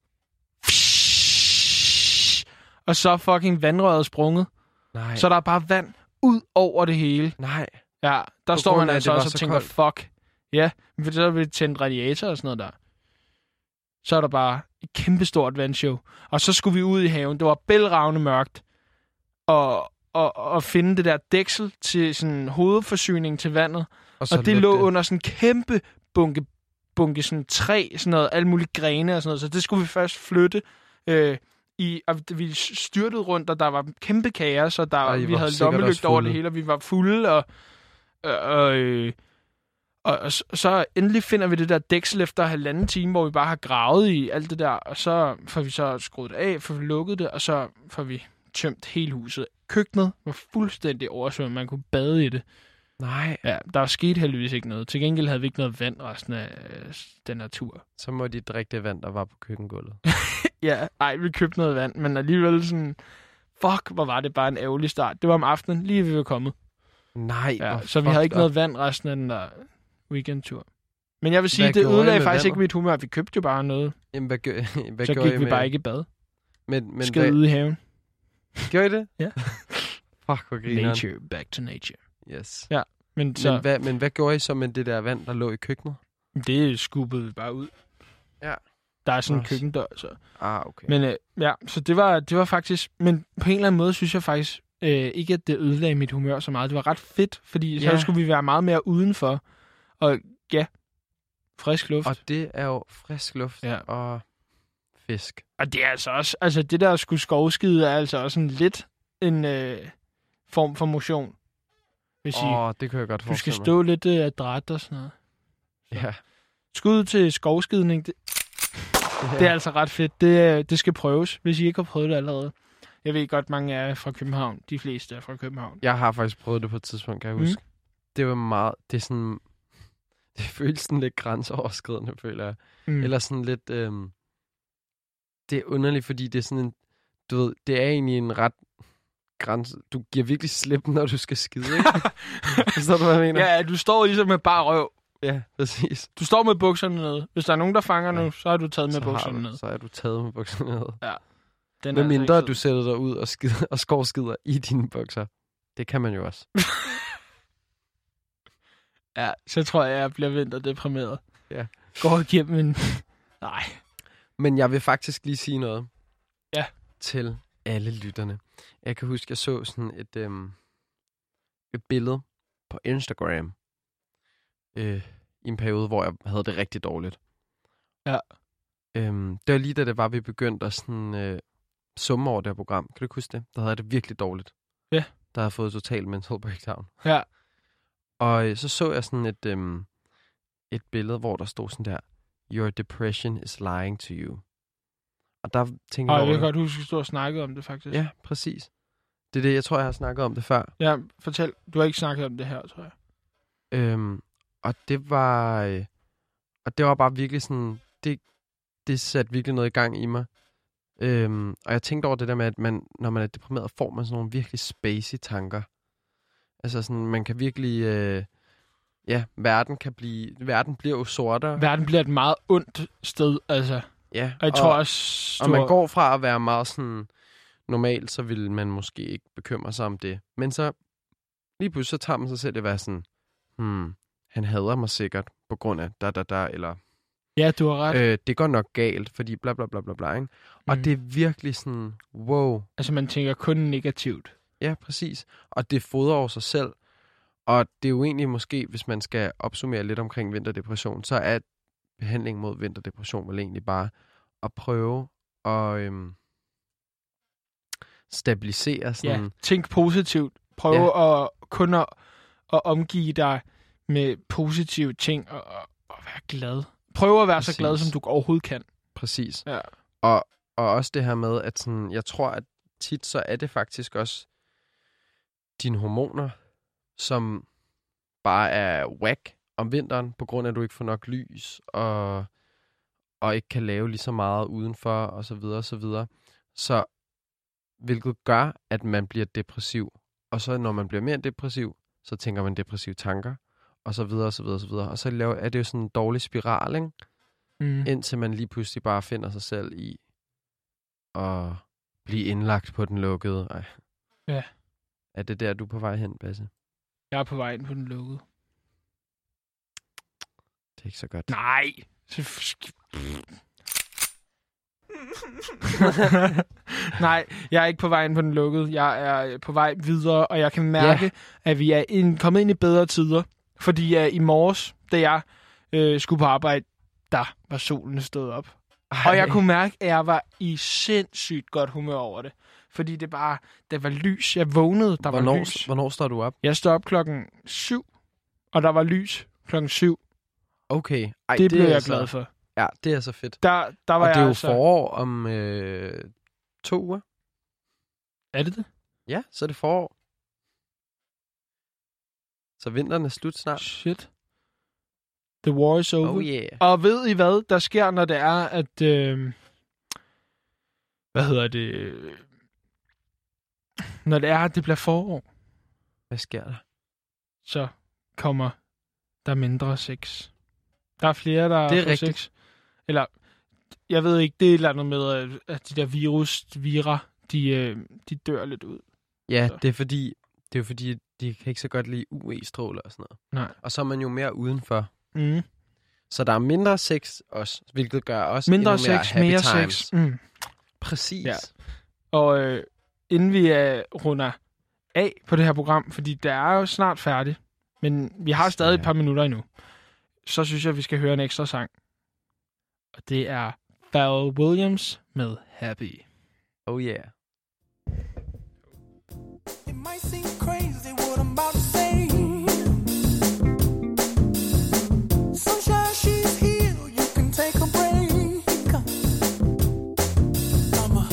Speaker 2: Og så er fucking vandrøret sprunget.
Speaker 3: Nej.
Speaker 2: Så der er bare vand ud over det hele.
Speaker 3: Nej.
Speaker 2: Ja, der
Speaker 3: På
Speaker 2: står
Speaker 3: grund
Speaker 2: man
Speaker 3: af, at
Speaker 2: altså
Speaker 3: det var
Speaker 2: også og
Speaker 3: så
Speaker 2: tænker, fuck. Ja, men så vil tænde radiator og sådan noget der. Så er der bare et kæmpestort vandshow. Og så skulle vi ud i haven. Det var bælragende mørkt. Og, og, og finde det der dæksel til sådan hovedforsyning til vandet. Så og det
Speaker 3: løb
Speaker 2: lå det. under sådan en kæmpe bunke, bunke sådan træ, sådan noget, alle mulige grene og sådan noget. Så det skulle vi først flytte. Øh, i, og vi styrtede rundt, og der var kæmpe kaos, og der,
Speaker 3: Ej, I
Speaker 2: Ej, vi
Speaker 3: var
Speaker 2: havde
Speaker 3: sikkert også
Speaker 2: lommelygter over
Speaker 3: fulde.
Speaker 2: det hele, og vi var fulde, og, og, og, øh, og, og så- så endelig finder vi det der dæksel efter halvanden time, hvor vi bare har gravet i alt det der, og så får vi så skruet det af, får vi lukket det, og så får vi tømt hele huset. Køkkenet var fuldstændig oversvømmet, man kunne bade i det.
Speaker 3: Nej.
Speaker 2: Ja, der skete heldigvis ikke noget. Til gengæld havde vi ikke noget vand resten af øh, den her tur.
Speaker 3: Så må de drikke det vand, der var på køkkengulvet.
Speaker 2: Ja, ej, vi købte noget vand, men alligevel sådan... Fuck, hvor var det bare en ærgerlig start. Det var om aftenen, lige ved vi var kommet.
Speaker 3: Nej,
Speaker 2: Ja,
Speaker 3: hvor
Speaker 2: så vi
Speaker 3: fucked
Speaker 2: havde ikke noget
Speaker 3: up.
Speaker 2: vand resten af den der weekendtur. Men jeg vil sige,
Speaker 3: Hvad
Speaker 2: det
Speaker 3: gjorde I
Speaker 2: ødelagde
Speaker 3: med
Speaker 2: faktisk
Speaker 3: vandet?
Speaker 2: ikke mit humør. Vi købte jo bare noget.
Speaker 3: Jamen, hvad, gør, hvad
Speaker 2: så
Speaker 3: gjorde I
Speaker 2: gik vi
Speaker 3: med-
Speaker 2: bare ikke i bad.
Speaker 3: Men, men
Speaker 2: Skede
Speaker 3: hvad,
Speaker 2: ude i haven.
Speaker 3: gjorde I det?
Speaker 2: Ja.
Speaker 3: Fuck, hvor grineren.
Speaker 2: Nature, back to nature.
Speaker 3: Yes.
Speaker 2: Men så,
Speaker 3: Men hvad, men hvad gjorde I så med det der vand, der lå i køkkenet?
Speaker 2: det skubbede vi bare ud.
Speaker 3: Ja.
Speaker 2: Der er sådan en
Speaker 3: Nå,
Speaker 2: køkkendør, så.
Speaker 3: Ah, okay.
Speaker 2: Men øh, ja, så det var, det var faktisk... Men på en eller anden måde synes jeg faktisk øh, ikke, at det ødelagde mit humør så meget. Det var ret fedt, fordi ja.
Speaker 3: Ja.
Speaker 2: så skulle vi være meget mere udenfor. Og ja, frisk luft. Og,
Speaker 3: Og det er jo frisk luft
Speaker 2: Ja.
Speaker 3: og fisk.
Speaker 2: og det er altså også... Altså det der at skulle skovskide er altså også en lidt en øh, form for motion. Hvis
Speaker 3: Åh,
Speaker 2: oh,
Speaker 3: oh, det kan jeg godt
Speaker 2: I, du skal
Speaker 3: forestille mig.
Speaker 2: stå lidt øh, adræt og sådan noget.
Speaker 3: Ja.
Speaker 2: Skud til skovskidning, det, det er altså ret fedt. Det, øh, det skal prøves, hvis I ikke har prøvet det allerede. Jeg ved godt, mange er fra København. De fleste er fra København.
Speaker 3: Jeg har faktisk prøvet det på et tidspunkt, kan jeg
Speaker 2: Mm.
Speaker 3: huske. Mm. Det var meget... Det er sådan... Det føles sådan lidt grænseoverskridende, føler jeg.
Speaker 2: Mm.
Speaker 3: Eller sådan lidt... Øhm, det er underligt, fordi det er sådan en... Du ved, det er egentlig en ret grænse. Du giver virkelig slip, når du skal skide, ikke? Forstår du, hvad jeg mener?
Speaker 2: Ja, du står ligesom med bare røv.
Speaker 3: ja præcis.
Speaker 2: Du står med bukserne nede. Hvis der er nogen, der fanger
Speaker 3: Ja.
Speaker 2: nu, så har du taget med
Speaker 3: så, har
Speaker 2: bukserne
Speaker 3: du,
Speaker 2: ned.
Speaker 3: så er du taget med bukserne ned.
Speaker 2: Den er
Speaker 3: Med
Speaker 2: altså
Speaker 3: mindre
Speaker 2: ikke
Speaker 3: du sætter dig ud og, skider, og skovskider i dine bukser. Det kan man jo også.
Speaker 2: sød. Ja, så tror jeg, jeg bliver vinterdeprimeret.
Speaker 3: Ja.
Speaker 2: Går igennem en... Nej.
Speaker 3: Men jeg vil faktisk lige sige noget.
Speaker 2: Ja.
Speaker 3: Til alle lytterne. Jeg kan huske, jeg så sådan et, øhm, et billede på Instagram. Øh, I en periode, hvor jeg havde det rigtig dårligt.
Speaker 2: Ja.
Speaker 3: Øhm, det var lige da det var, vi begyndte at sådan, øh, summe over det her program. Kan du ikke huske det? Der havde jeg det virkelig dårligt.
Speaker 2: Ja.
Speaker 3: Der havde jeg fået total mental breakdown.
Speaker 2: Ja.
Speaker 3: Og øh, så så jeg sådan et, øhm, et billede, hvor der stod sådan der, Your depression is lying to you. Og der tænkte
Speaker 2: Og
Speaker 3: jeg
Speaker 2: jeg
Speaker 3: over
Speaker 2: kan
Speaker 3: det.
Speaker 2: godt huske, at du stod og snakkede om det, faktisk.
Speaker 3: Ja, præcis. Det er det, jeg tror, jeg har snakket om det før.
Speaker 2: ja. fortæl. Du har ikke snakket om det her, tror jeg.
Speaker 3: Øhm, og det var... Øh, og det var bare virkelig sådan... Det, det satte virkelig noget i gang i mig. Øhm, og jeg tænkte over det der med, at man, når man er deprimeret, får man sådan nogle virkelig spacey tanker. Altså sådan, man kan virkelig... Øh, ja, verden kan blive... Verden bliver jo sortere.
Speaker 2: Verden bliver et meget ondt sted, altså.
Speaker 3: ja,
Speaker 2: Og jeg tror også...
Speaker 3: Og man går fra at være meget sådan... Normalt, så vil man måske ikke bekymre sig om det. Men så lige pludselig, så tager man sig selv at være sådan... Hmm, han hader mig sikkert på grund af da da da, eller
Speaker 2: Ja, du har ret.
Speaker 3: øh, det går nok galt, fordi bla bla bla bla bla, ikke? Og
Speaker 2: Mm.
Speaker 3: det er virkelig sådan, wow,
Speaker 2: Altså, man tænker kun negativt.
Speaker 3: ja præcis. Og det fodrer over sig selv. Og det er jo egentlig måske, hvis man skal opsummere lidt omkring vinterdepression, så er behandling mod vinterdepression vel egentlig bare at prøve at øhm, stabilisere sådan...
Speaker 2: Ja. Tænk positivt. Prøv ja. at kun at, at omgive dig med positive ting og, og, og være glad. Prøv at være Præcis.
Speaker 3: Præcis.
Speaker 2: så glad, som du overhovedet kan.
Speaker 3: Præcis.
Speaker 2: Ja.
Speaker 3: Og, og også det her med, at sådan, jeg tror, at tit så er det faktisk også dine hormoner, som bare er whack om vinteren, på grund af, at du ikke får nok lys, og, og ikke kan lave lige så meget udenfor, og så videre, og så videre. Så hvilket gør, at man bliver depressiv. Og så når man bliver mere depressiv, så tænker man depressive tanker, og så videre, og så videre, og så videre. Og så laver, er det jo sådan en dårlig spiral, ikke?
Speaker 2: Mm.
Speaker 3: indtil man lige pludselig bare finder sig selv i at blive indlagt på den lukkede. Ej.
Speaker 2: Ja.
Speaker 3: Er det der, du er på vej hen, Basse?
Speaker 2: Jeg er på vej ind på den lukkede.
Speaker 3: Det er ikke så godt.
Speaker 2: Nej. Så f- sk- Nej, jeg er ikke på vej ind på den lukkede. Jeg er øh, på vej videre, og jeg kan mærke, ja. at vi er ind, kommet ind i bedre tider. Fordi uh, i morges, da jeg øh, skulle på arbejde, der var solen stået op.
Speaker 3: Ej.
Speaker 2: Og jeg kunne mærke, at jeg var i sindssygt godt humør over det. Fordi det bare, der var lys. Jeg vågnede, der var lys.
Speaker 3: hvornår, hvornår står du op?
Speaker 2: Jeg stod op klokken 7, og der var lys klokken 7.
Speaker 3: Okay. Ej,
Speaker 2: Ej, det, det blev
Speaker 3: er
Speaker 2: jeg
Speaker 3: altså,
Speaker 2: glad for.
Speaker 3: Ja, det er så fedt.
Speaker 2: Der, der var
Speaker 3: Og det
Speaker 2: jeg
Speaker 3: er jo
Speaker 2: altså...
Speaker 3: forår om øh, to uger.
Speaker 2: Er det det?
Speaker 3: Ja, så er det forår. Så vinteren er slut snart.
Speaker 2: Shit. The war is over.
Speaker 3: Oh yeah.
Speaker 2: Og ved I hvad, der sker, når det er, at... Øh, hvad hedder det? øh, Når det er, at det bliver forår,
Speaker 3: Hvad sker der?
Speaker 2: så kommer der mindre sex. Der er flere, der
Speaker 3: Det er
Speaker 2: får
Speaker 3: rigtigt.
Speaker 2: sex. Eller, jeg ved ikke, det er et eller andet med, at- at de der virus, vira, de, øh, de dør lidt ud.
Speaker 3: Ja,
Speaker 2: Så.
Speaker 3: det er fordi, det er fordi, de kan ikke så godt lide UV-stråler og sådan noget.
Speaker 2: Nej.
Speaker 3: Og så er man jo mere udenfor.
Speaker 2: Mm.
Speaker 3: Så der er mindre sex også, hvilket gør også
Speaker 2: Mindre
Speaker 3: endnu mere
Speaker 2: sex,
Speaker 3: happy
Speaker 2: mere
Speaker 3: times.
Speaker 2: sex. Mm.
Speaker 3: Præcis.
Speaker 2: Ja. Og øh, inden vi øh, runder af på det her program, fordi det er jo snart færdigt, men vi har stadig et par minutter endnu, så synes jeg, at vi skal høre en ekstra sang. Og det er Pharrell Williams med Happy.
Speaker 3: Oh yeah.
Speaker 5: It might seem crazy what I'm about to say. Sunshine, she's here. You can take a break. I'm a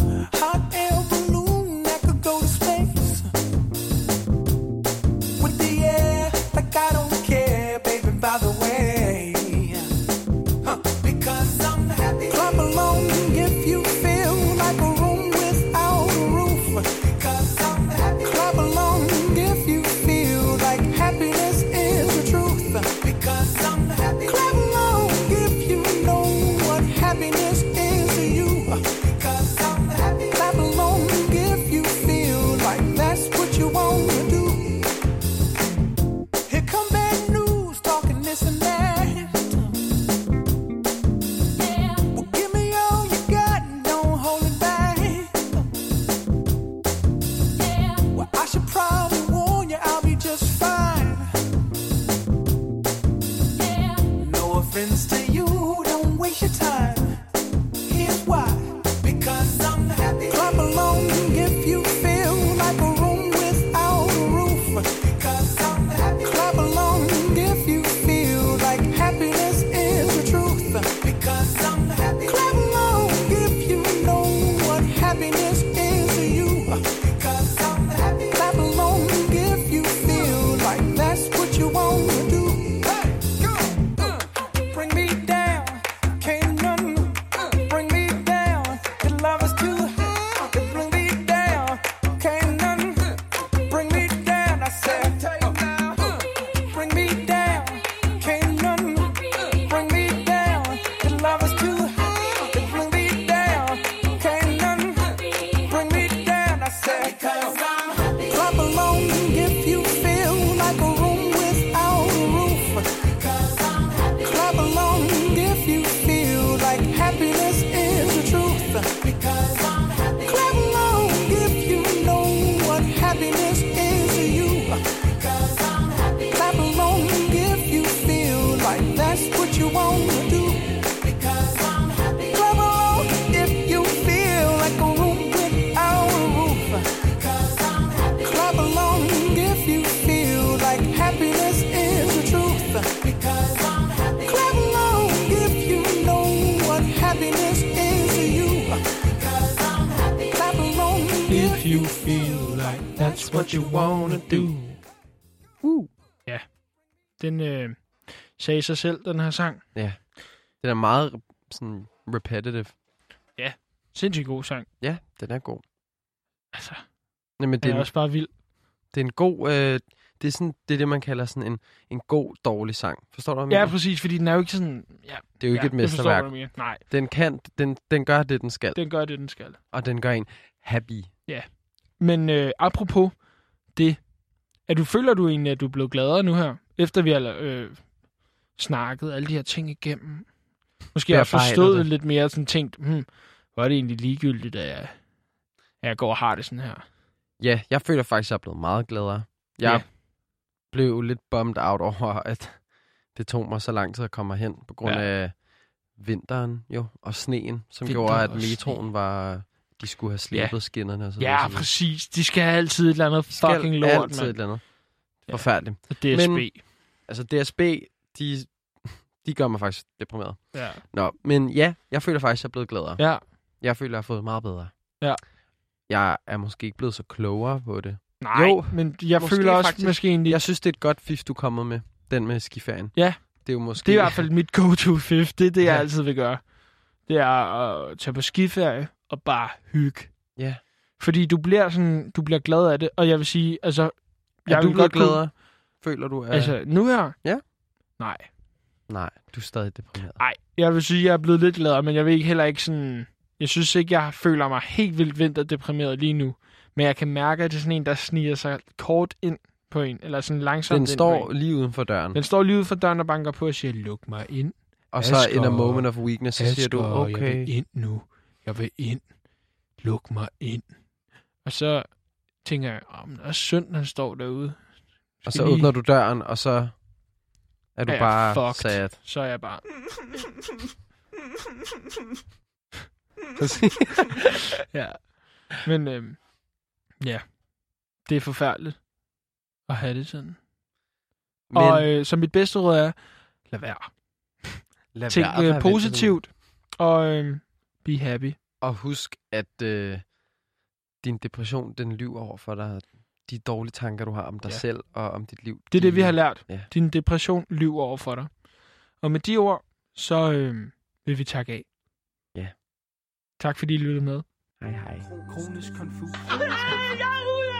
Speaker 5: hot air balloon that could go to space. With the air, like I don't care, baby, by the way. Huh, Because I'm happy. Clap along if you feel like a room without
Speaker 2: you feel like that's what you wanna do. Uh. Ja. Den øh, sagde sig selv, den her sang.
Speaker 3: Den er meget sådan repetitive.
Speaker 2: Sindssygt god sang.
Speaker 3: Ja, den er god.
Speaker 2: Altså,
Speaker 3: Nej, men det
Speaker 2: den
Speaker 3: er,
Speaker 2: er
Speaker 3: en,
Speaker 2: også bare vild.
Speaker 3: det er en god... Øh, det, er sådan, det er det, man kalder sådan en, en god, dårlig sang. Forstår du, hvad jeg
Speaker 2: Ja,
Speaker 3: mener?
Speaker 2: præcis, fordi den er jo ikke sådan... Ja,
Speaker 3: Det er jo ikke
Speaker 2: ja,
Speaker 3: et
Speaker 2: jeg forstår, hvad
Speaker 3: mesterværk.
Speaker 2: du mener. Nej,
Speaker 3: Den, kan, den, den gør det, den skal.
Speaker 2: den gør det, den skal.
Speaker 3: Og den gør en happy.
Speaker 2: Men øh, apropos det, er du, føler du egentlig, at du er blevet gladere nu her, efter vi har øh, snakket alle de her ting igennem? Måske har jeg
Speaker 3: Bearbejdet
Speaker 2: forstået
Speaker 3: det.
Speaker 2: det. lidt mere, sådan tænkt, hmm, hvor er det egentlig ligegyldigt, at jeg, at jeg går og har det sådan her?
Speaker 3: Ja, jeg føler faktisk, at jeg er blevet meget gladere. Jeg
Speaker 2: Ja.
Speaker 3: blev lidt bummed out over, at det tog mig så lang tid at komme hen på grund
Speaker 2: Ja.
Speaker 3: ja. af vinteren jo, og sneen, som
Speaker 2: Vinter
Speaker 3: Vinter gjorde, at
Speaker 2: og sne.
Speaker 3: metroen var... De skulle have slebet ja. skinnerne og sådan
Speaker 2: Ja,
Speaker 3: noget.
Speaker 2: præcis. De skal have altid et eller andet
Speaker 3: Skal
Speaker 2: fucking lort,
Speaker 3: altid et
Speaker 2: mand.
Speaker 3: eller andet.
Speaker 2: Ja.
Speaker 3: Forfærdeligt.
Speaker 2: Og DSB. Men,
Speaker 3: Altså, DSB, de, de gør mig faktisk deprimeret.
Speaker 2: ja.
Speaker 3: Nå, men ja, jeg føler faktisk, at jeg er blevet gladere. Ja.
Speaker 2: ja.
Speaker 3: Jeg føler, at jeg har fået meget bedre.
Speaker 2: Ja.
Speaker 3: Jeg er måske ikke blevet så klogere på det.
Speaker 2: Nej,
Speaker 3: Jo,
Speaker 2: jo, men jeg
Speaker 3: måske
Speaker 2: føler også
Speaker 3: faktisk.
Speaker 2: måske egentlig...
Speaker 3: Jeg synes, det er et godt fif, du kommer med. Den med skiferien.
Speaker 2: Ja.
Speaker 3: Det er jo måske...
Speaker 2: Det er i hvert fald mit go-to fif. Det er det, jeg
Speaker 3: Ja.
Speaker 2: altid vil gøre. Det er at tage på skiferie og bare hygge.
Speaker 3: Ja.
Speaker 2: Fordi du bliver sådan, du bliver glad af det, og jeg vil sige, altså...
Speaker 3: Er du
Speaker 2: vil
Speaker 3: blevet
Speaker 2: kunne-
Speaker 3: gladere? Føler du, at...
Speaker 2: Altså, nu her?
Speaker 3: Ja.
Speaker 2: Nej.
Speaker 3: Nej, du er stadig deprimeret.
Speaker 2: Nej, jeg vil sige, at jeg er blevet lidt gladere, men jeg vil ikke heller ikke sådan... Jeg synes ikke, jeg føler mig helt vildt vinterdeprimeret lige nu. Men jeg kan mærke, at det er sådan en, der sniger sig kort ind på en, eller sådan langsomt
Speaker 3: Den
Speaker 2: ind på
Speaker 3: står
Speaker 2: en.
Speaker 3: lige uden for døren.
Speaker 2: Den står lige ude for døren og banker på og siger, luk mig ind.
Speaker 3: Og så
Speaker 2: Asger-
Speaker 3: in a moment of weakness, så siger du,
Speaker 2: Asger, Jeg vil
Speaker 3: okay,
Speaker 2: ind nu. Jeg vil ind. Luk mig ind. Og så tænker jeg, oh, men det er synd, han står derude.
Speaker 3: og
Speaker 2: Skal
Speaker 3: så
Speaker 2: lige-
Speaker 3: åbner du døren, og så er du
Speaker 2: Ja,
Speaker 3: bare
Speaker 2: fucked.
Speaker 3: sad.
Speaker 2: Så er jeg bare...
Speaker 3: Præcis.
Speaker 2: Ja. Men øhm, ja, det er forfærdeligt at have det sådan. Men...
Speaker 3: Men
Speaker 2: Og øh, så mit bedste råd er, lad være.
Speaker 3: lad
Speaker 2: Tænk
Speaker 3: være at
Speaker 2: øh,
Speaker 3: være ventetid.
Speaker 2: positivt, og øh, be happy.
Speaker 3: Og husk, at øh, din depression, den lyver over for dig. De dårlige tanker, du har om dig
Speaker 2: Ja.
Speaker 3: selv og om dit liv.
Speaker 2: Det er det,
Speaker 3: de-
Speaker 2: vi har lært.
Speaker 3: Ja.
Speaker 2: Din depression lyver over for dig. Og med de ord, så øh, vil vi takke af.
Speaker 3: Ja.
Speaker 2: Tak fordi I lyttede med.
Speaker 3: Hej hej.
Speaker 5: Kronisk konfus.
Speaker 6: Jeg er ude